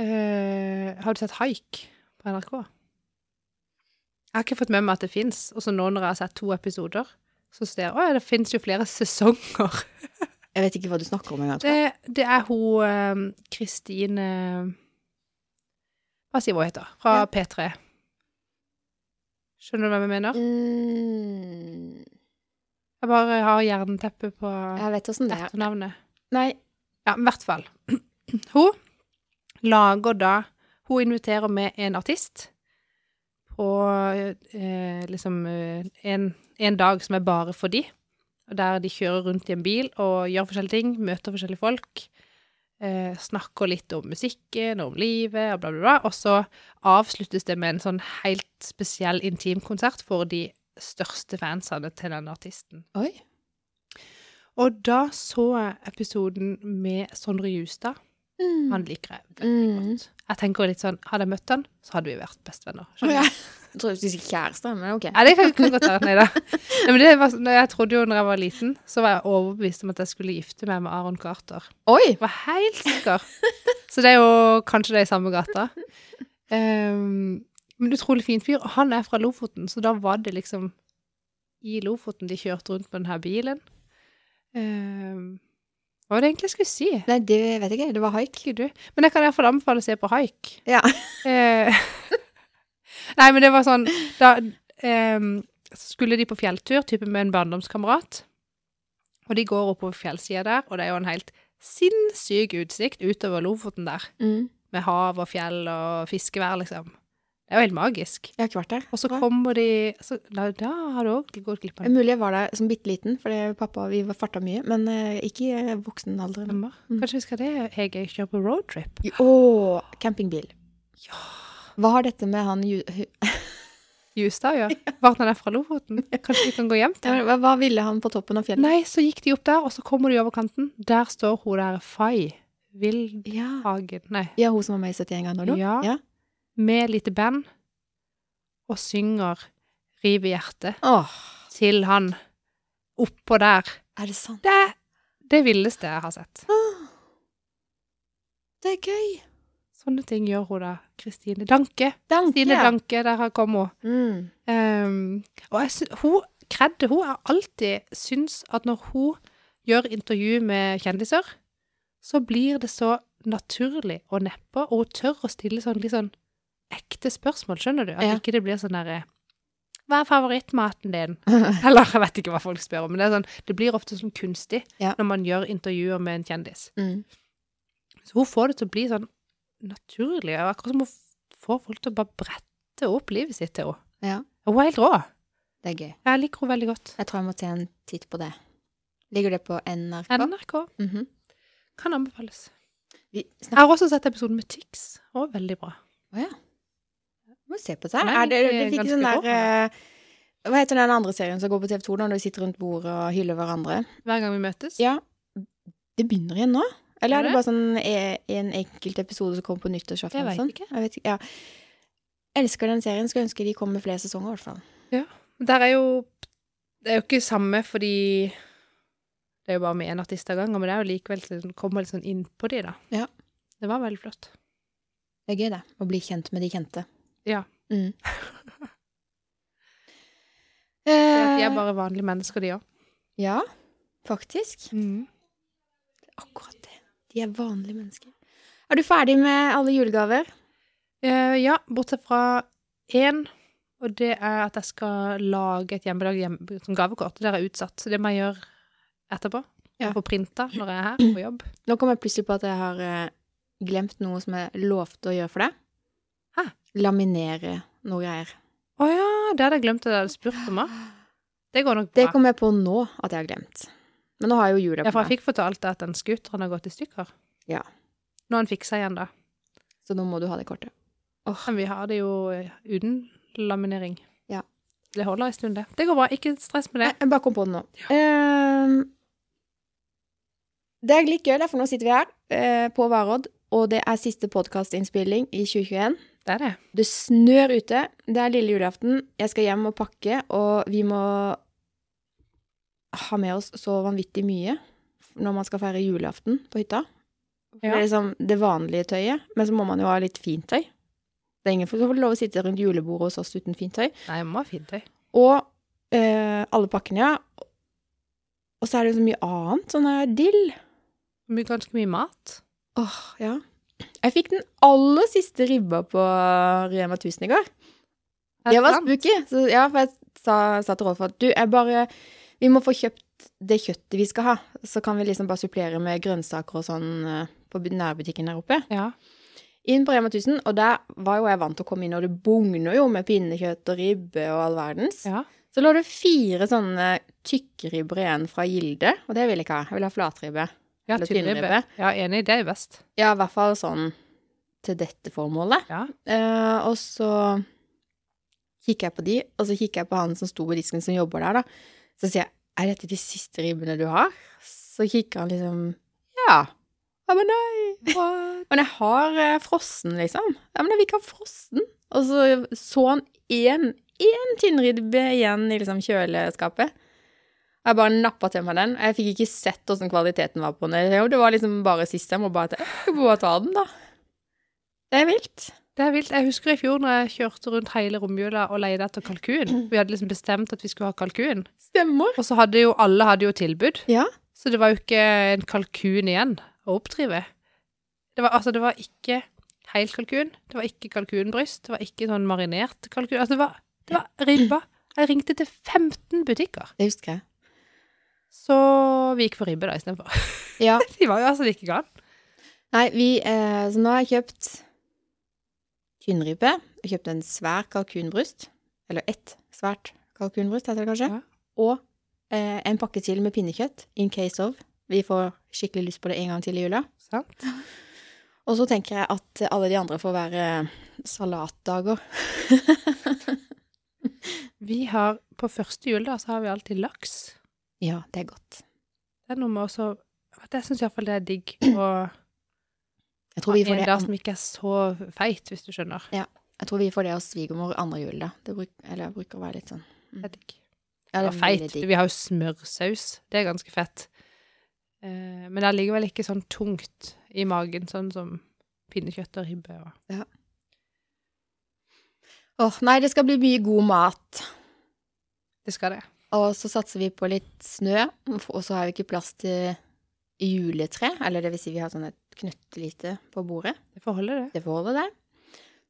[SPEAKER 1] eh, Har du sett Haik på NRK? Jeg har ikke fått med meg at det fins. Og så nå når jeg har sett to episoder, så ser jeg at det fins jo flere sesonger.
[SPEAKER 2] Jeg vet ikke hva du snakker om engang. tror jeg.
[SPEAKER 1] Det, det er hun ehm, Kristine Hva sier hun heter? Fra
[SPEAKER 2] Ja.
[SPEAKER 1] P3. Skjønner du hva jeg mener?
[SPEAKER 2] Mm,
[SPEAKER 1] Jeg bare har jernteppe på
[SPEAKER 2] jeg vet åssen det er.
[SPEAKER 1] etternavnet.
[SPEAKER 2] Nei,
[SPEAKER 1] Ja, men i hvert fall. Hun lager da Hun inviterer med en artist på eh, liksom eh, en, en dag som er bare for de. Og Der de kjører rundt i en bil og gjør forskjellige ting, møter forskjellige folk. Eh, snakker litt om musikken og om livet og bla, bla, bla. Og så avsluttes det med en sånn helt spesiell intimkonsert for de største fansene til den artisten.
[SPEAKER 2] oi.
[SPEAKER 1] Og da så jeg episoden med Sondre Justad.
[SPEAKER 2] Mm.
[SPEAKER 1] Han liker jeg veldig
[SPEAKER 2] Mm.
[SPEAKER 1] godt. Jeg tenker litt sånn, Hadde jeg møtt han, så hadde vi vært bestevenner.
[SPEAKER 2] Å,
[SPEAKER 1] skjønner
[SPEAKER 2] ja.
[SPEAKER 1] du?
[SPEAKER 2] Jeg tror jeg skulle si kjæreste, men ok.
[SPEAKER 1] Nei, det kan kan godt være. Nei da. Nei, men det var, sånn- jeg trodde jo når jeg var liten, så var jeg overbevist om at jeg skulle gifte meg med Aron Carter.
[SPEAKER 2] Oi!
[SPEAKER 1] Jeg var helt sikker. Så det er jo kanskje det er i samme gata. Ehm, men utrolig fin fyr. Og han er fra Lofoten, så da var det liksom i Lofoten de kjørte rundt med denne bilen. Ehm, hva var det egentlig jeg skulle si?
[SPEAKER 2] Nei, det vet jeg ikke. Det var haik.
[SPEAKER 1] Husker du? Men jeg kan i hvert fall anbefale å se på haik.
[SPEAKER 2] Ja.
[SPEAKER 1] Eh, Nei, men det var sånn Da ehm, så skulle de på fjelltur, type med en barndomskamerat. Og de går oppover fjellsida der, og det er jo en helt sinnssyk utsikt utover Lofoten der.
[SPEAKER 2] Mm.
[SPEAKER 1] Med hav og fjell og fiskevær, liksom. Det er jo helt magisk.
[SPEAKER 2] Jeg har ikke vært der.
[SPEAKER 1] Og så
[SPEAKER 2] Bra.
[SPEAKER 1] kommer de så, da, da har du òg gått glipp av
[SPEAKER 2] Det er Mulig jeg var der som bitte liten, for det- pappa vi var farta mye. Men eh, ikke i voksen alder.
[SPEAKER 1] noen Kanskje vi skal det, Hege? Kjøre på roadtrip?
[SPEAKER 2] I- Å, campingbil.
[SPEAKER 1] Ja.
[SPEAKER 2] Hva har dette med han ju- hu-
[SPEAKER 1] Justad, ja. Vart han er fra Lofoten? Kanskje vi kan gå hjem til
[SPEAKER 2] Ja,
[SPEAKER 1] ham?
[SPEAKER 2] men hva, hva ville han på toppen av fjellet?
[SPEAKER 1] Nei, så gikk de opp der, og så kommer de over kanten. Der står hun der Fay Vildhagen
[SPEAKER 2] Ja.
[SPEAKER 1] Nei.
[SPEAKER 2] ja, hun som var med i 71 ganger nå?
[SPEAKER 1] Ja.
[SPEAKER 2] ja.
[SPEAKER 1] Med lite band. Og synger Riv i hjertet
[SPEAKER 2] Åh,
[SPEAKER 1] til han oppå der.
[SPEAKER 2] er det sant?
[SPEAKER 1] Det er det villeste jeg har sett.
[SPEAKER 2] Åh, det er gøy.
[SPEAKER 1] Sånne ting gjør hun da. Kristine Danke.
[SPEAKER 2] Danke.
[SPEAKER 1] Kristine Danke, der har kommet hun.
[SPEAKER 2] Mm.
[SPEAKER 1] Ehm, og jeg sy hun kredde hun har alltid syns at når hun gjør intervju med kjendiser, så blir det så naturlig og neppe, og hun tør å stille sånn litt sånn ekte spørsmål, skjønner du? At
[SPEAKER 2] Ja.
[SPEAKER 1] ikke det blir sånn derre Hva er favorittmaten din? Eller jeg vet ikke hva folk spør om, men det, er sånn, det blir ofte sånn kunstig
[SPEAKER 2] Ja.
[SPEAKER 1] når man gjør intervjuer med en kjendis.
[SPEAKER 2] Mm.
[SPEAKER 1] Så hun får det til å bli sånn naturlig, og akkurat som hun f- får folk til å bare brette opp livet sitt til henne.
[SPEAKER 2] Ja,
[SPEAKER 1] Hun er helt rå.
[SPEAKER 2] det er gøy.
[SPEAKER 1] Jeg liker henne veldig godt.
[SPEAKER 2] Jeg tror jeg må ta en titt på det. Ligger det på NRK?
[SPEAKER 1] NRK
[SPEAKER 2] Mhm.
[SPEAKER 1] kan anbefales.
[SPEAKER 2] Vi
[SPEAKER 1] Jeg
[SPEAKER 2] snakker
[SPEAKER 1] har også sett episoden med Tix. Og veldig bra.
[SPEAKER 2] Å ja. Må se på det.
[SPEAKER 1] Den er
[SPEAKER 2] Er det, det
[SPEAKER 1] egentlig
[SPEAKER 2] fikk
[SPEAKER 1] ganske
[SPEAKER 2] sånn
[SPEAKER 1] rå.
[SPEAKER 2] der eh, Hva heter den andre serien som går på TV2 når de sitter rundt bordet og hyller hverandre?
[SPEAKER 1] Hver gang vi møtes.
[SPEAKER 2] Ja. Det begynner igjen nå? Eller er
[SPEAKER 1] Gjør
[SPEAKER 2] det bare sånn e- en enkelt episode som kommer på nyttårsaften?
[SPEAKER 1] Jeg
[SPEAKER 2] og
[SPEAKER 1] vet
[SPEAKER 2] sånn?
[SPEAKER 1] ikke.
[SPEAKER 2] Jeg vet ikke. Ja. Elsker den serien. Skulle ønske de kom med flere sesonger, i hvert fall.
[SPEAKER 1] Der er jo Det er jo ikke samme fordi det er jo bare med én artist av gangen, men det er jo likevel sånn- kommer litt sånn innpå de, da.
[SPEAKER 2] Ja.
[SPEAKER 1] Det var veldig flott.
[SPEAKER 2] Det er gøy, det. Å bli kjent med de kjente.
[SPEAKER 1] Ja.
[SPEAKER 2] Mm.
[SPEAKER 1] For at De
[SPEAKER 2] eh,
[SPEAKER 1] er bare vanlige mennesker, de òg.
[SPEAKER 2] ja, faktisk. Akkurat det. De er vanlige mennesker. Er du ferdig med alle julegaver?
[SPEAKER 1] Eh, ja, bortsett fra én, og det er at jeg skal lage et hjemmedag hjem- som gavekort. Det er utsatt, så det må jeg gjøre etterpå.
[SPEAKER 2] Ja.
[SPEAKER 1] Jeg får printa når jeg er her på jobb.
[SPEAKER 2] Nå kom jeg plutselig på at jeg har eh, glemt noe som jeg lovte å gjøre for deg.
[SPEAKER 1] Hæ?
[SPEAKER 2] Laminere noe greier.
[SPEAKER 1] Å ja, det hadde jeg glemt at jeg hadde spurt om. da. Det går nok
[SPEAKER 2] Det
[SPEAKER 1] bra.
[SPEAKER 2] kom jeg på nå at jeg har glemt. Men nå har jeg jo jula
[SPEAKER 1] Ja,
[SPEAKER 2] på
[SPEAKER 1] for
[SPEAKER 2] meg,
[SPEAKER 1] jeg fikk fortalt at den scooteren har gått i stykker.
[SPEAKER 2] Ja.
[SPEAKER 1] Nå har den fiksa igjen, da.
[SPEAKER 2] så nå må du ha det kortet.
[SPEAKER 1] Men vi har det jo eh, uten laminering.
[SPEAKER 2] Ja.
[SPEAKER 1] Det holder en stund, det. Det går bra. Ikke stress med det.
[SPEAKER 2] Nei, jeg bare kom på det nå. Ehm, det er litt gøy, da, for nå sitter vi her eh, på Varodd, og det er siste podkastinnspilling i 2021.
[SPEAKER 1] Det er det.
[SPEAKER 2] Det snør ute. Det er lille julaften. Jeg skal hjem og pakke, og vi må ha med oss så vanvittig mye når man skal feire julaften på hytta. For Det
[SPEAKER 1] Ja.
[SPEAKER 2] er liksom det vanlige tøyet, men så må man jo ha litt fint tøy. Det er ingen som får lov å sitte rundt julebordet hos oss uten fint tøy.
[SPEAKER 1] Nei, jeg må ha fint tøy.
[SPEAKER 2] Og eh, alle pakkene, ja. Og så er det jo så mye annet. Sånn her dill.
[SPEAKER 1] My- Ganske mye mat.
[SPEAKER 2] Åh, ja. Jeg fikk den aller siste ribba på Rema 1000 i går.
[SPEAKER 1] Er
[SPEAKER 2] Det var
[SPEAKER 1] sant?
[SPEAKER 2] spooky. Så, ja, for jeg sa, sa til Rolf at du, jeg bare Vi må få kjøpt det kjøttet vi skal ha. Så kan vi liksom bare supplere med grønnsaker og sånn eh, på bu- nærbutikken der oppe.
[SPEAKER 1] Ja.
[SPEAKER 2] Inn på Rema 1000, og der var jo jeg vant til å komme inn, og det bugner jo med pinnekjøtt og ribbe og all verdens.
[SPEAKER 1] ja.
[SPEAKER 2] Så lå det fire sånne tykkribber igjen fra Gilde, og det vil jeg ikke ha. Jeg vil ha flatribbe.
[SPEAKER 1] Ja,
[SPEAKER 2] Eller
[SPEAKER 1] tynnribbe.
[SPEAKER 2] tynnribbe.
[SPEAKER 1] Ja, enig. Det er best.
[SPEAKER 2] Ja, i hvert fall sånn til dette formålet.
[SPEAKER 1] Ja.
[SPEAKER 2] Eh, og så kikker jeg på de, og så kikker jeg på han som sto ved disken som jobber der, da. Så sier jeg, er dette de siste ribbene du har? Så kikker han liksom, ja. Ja, men nei. Men jeg har eh, frossen, liksom. Ja, men jeg vil ikke ha frossen. Og så så han én, én tynnribbe igjen i liksom kjøleskapet. Jeg bare nappa til meg den. Jeg fikk ikke sett åssen kvaliteten var på den. Jo, Det var liksom bare siste. Jeg må bare ta, jeg må bare ta den, da. Det er vilt.
[SPEAKER 1] Det er vilt. Jeg husker i fjor når jeg kjørte rundt hele romjula og leide etter kalkun. Vi hadde liksom bestemt at vi skulle ha kalkun.
[SPEAKER 2] Stemmer.
[SPEAKER 1] Og så hadde jo alle hadde jo tilbud.
[SPEAKER 2] Ja.
[SPEAKER 1] Så det var jo ikke en kalkun igjen å oppdrive. Det var, altså, det var ikke hel kalkun, det var ikke kalkunbryst, det var ikke sånn marinert kalkun. Altså, det var, det var ribba. Jeg ringte til 15 butikker,
[SPEAKER 2] Det husker jeg.
[SPEAKER 1] så vi gikk for ribbe da istedenfor.
[SPEAKER 2] Ja.
[SPEAKER 1] De var jo altså like gale.
[SPEAKER 2] Nei, vi eh, Så nå har jeg kjøpt tynnribbe. Jeg kjøpte en svær kalkunbryst. Eller ett svært kalkunbryst, heter det kanskje.
[SPEAKER 1] Ja.
[SPEAKER 2] Og eh, en pakke til med pinnekjøtt. In case of. Vi får skikkelig lyst på det en gang til i jula.
[SPEAKER 1] Sant?
[SPEAKER 2] Og så tenker jeg at alle de andre får være salatdager.
[SPEAKER 1] Vi har på første jul da, så har vi alltid laks.
[SPEAKER 2] Ja, det er godt.
[SPEAKER 1] Det er noe med også at Jeg syns iallfall det er digg å
[SPEAKER 2] Jeg tror vi
[SPEAKER 1] en
[SPEAKER 2] får det,
[SPEAKER 1] dag som ikke er så feit, hvis du skjønner.
[SPEAKER 2] jeg tror vi får det hos svigermor andre jul, da. Det bruk, eller jeg bruker å være litt sånn
[SPEAKER 1] Det er digg.
[SPEAKER 2] ja,
[SPEAKER 1] Det
[SPEAKER 2] det
[SPEAKER 1] var
[SPEAKER 2] er
[SPEAKER 1] feit.
[SPEAKER 2] veldig digg.
[SPEAKER 1] Vi har jo smørsaus. Det er ganske fett. Eh, Men det er likevel ikke sånn tungt i magen, sånn som pinnekjøtt og ribbe og
[SPEAKER 2] Åh, nei, det skal bli mye god mat.
[SPEAKER 1] Det skal det.
[SPEAKER 2] Og så satser vi på litt snø, og så har vi ikke plass til juletre. Eller det vil si, vi har sånn et knøttlite på bordet.
[SPEAKER 1] Det får holde, det.
[SPEAKER 2] Det får holde der.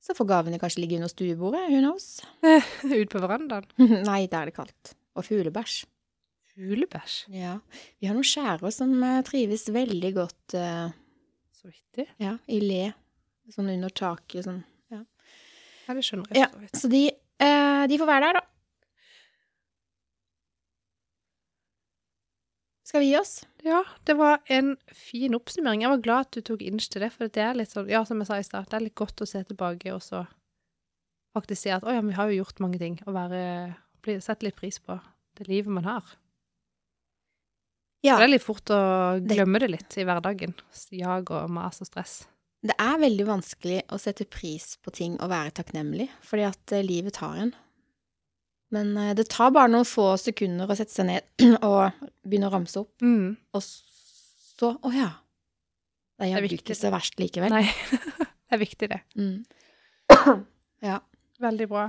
[SPEAKER 2] Så får gavene kanskje ligge under stuebordet, who knows?
[SPEAKER 1] Ut på verandaen.
[SPEAKER 2] Nei, der er det kaldt. Og fuglebæsj.
[SPEAKER 1] Julebæsj.
[SPEAKER 2] Ja. Vi har noen skjærer som eh, trives veldig godt eh,
[SPEAKER 1] Så vittig.
[SPEAKER 2] ja, i le. Sånn under taket. Sånn.
[SPEAKER 1] Ja, det skjønner
[SPEAKER 2] Ja,
[SPEAKER 1] jeg. for så vidt.
[SPEAKER 2] så de, eh, de får være der, da. Skal vi gi oss?
[SPEAKER 1] Ja, det var en fin oppsummering. Jeg var glad at du tok inch til det, for det er litt sånn, ja, som jeg sa i stad, det er litt godt å se tilbake og så faktisk se at å ja, men vi har jo gjort mange ting, og være, bli, sette litt pris på det livet man har.
[SPEAKER 2] Ja.
[SPEAKER 1] For Det er litt fort å
[SPEAKER 2] Det-
[SPEAKER 1] glemme det litt i hverdagen. Jag og mas og stress.
[SPEAKER 2] Det er veldig vanskelig å sette pris på ting og være takknemlig, fordi at eh, livet tar en. Men eh, det tar bare noen få sekunder å sette seg ned og begynne å ramse opp,
[SPEAKER 1] Mm.
[SPEAKER 2] og så Å ja. Det
[SPEAKER 1] Det er
[SPEAKER 2] er jaggu
[SPEAKER 1] viktig.
[SPEAKER 2] ikke så verst likevel.
[SPEAKER 1] Nei, det er viktig, det.
[SPEAKER 2] Mm. Ja.
[SPEAKER 1] Veldig bra.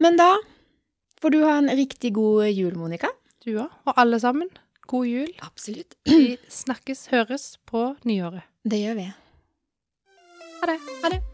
[SPEAKER 2] Men da får du ha en riktig god jul, Monica.
[SPEAKER 1] Du òg. Og alle sammen, god jul.
[SPEAKER 2] Absolutt.
[SPEAKER 1] Vi snakkes, høres på nyåret.
[SPEAKER 2] Det gjør vi.
[SPEAKER 1] Ha det.
[SPEAKER 2] Ha det.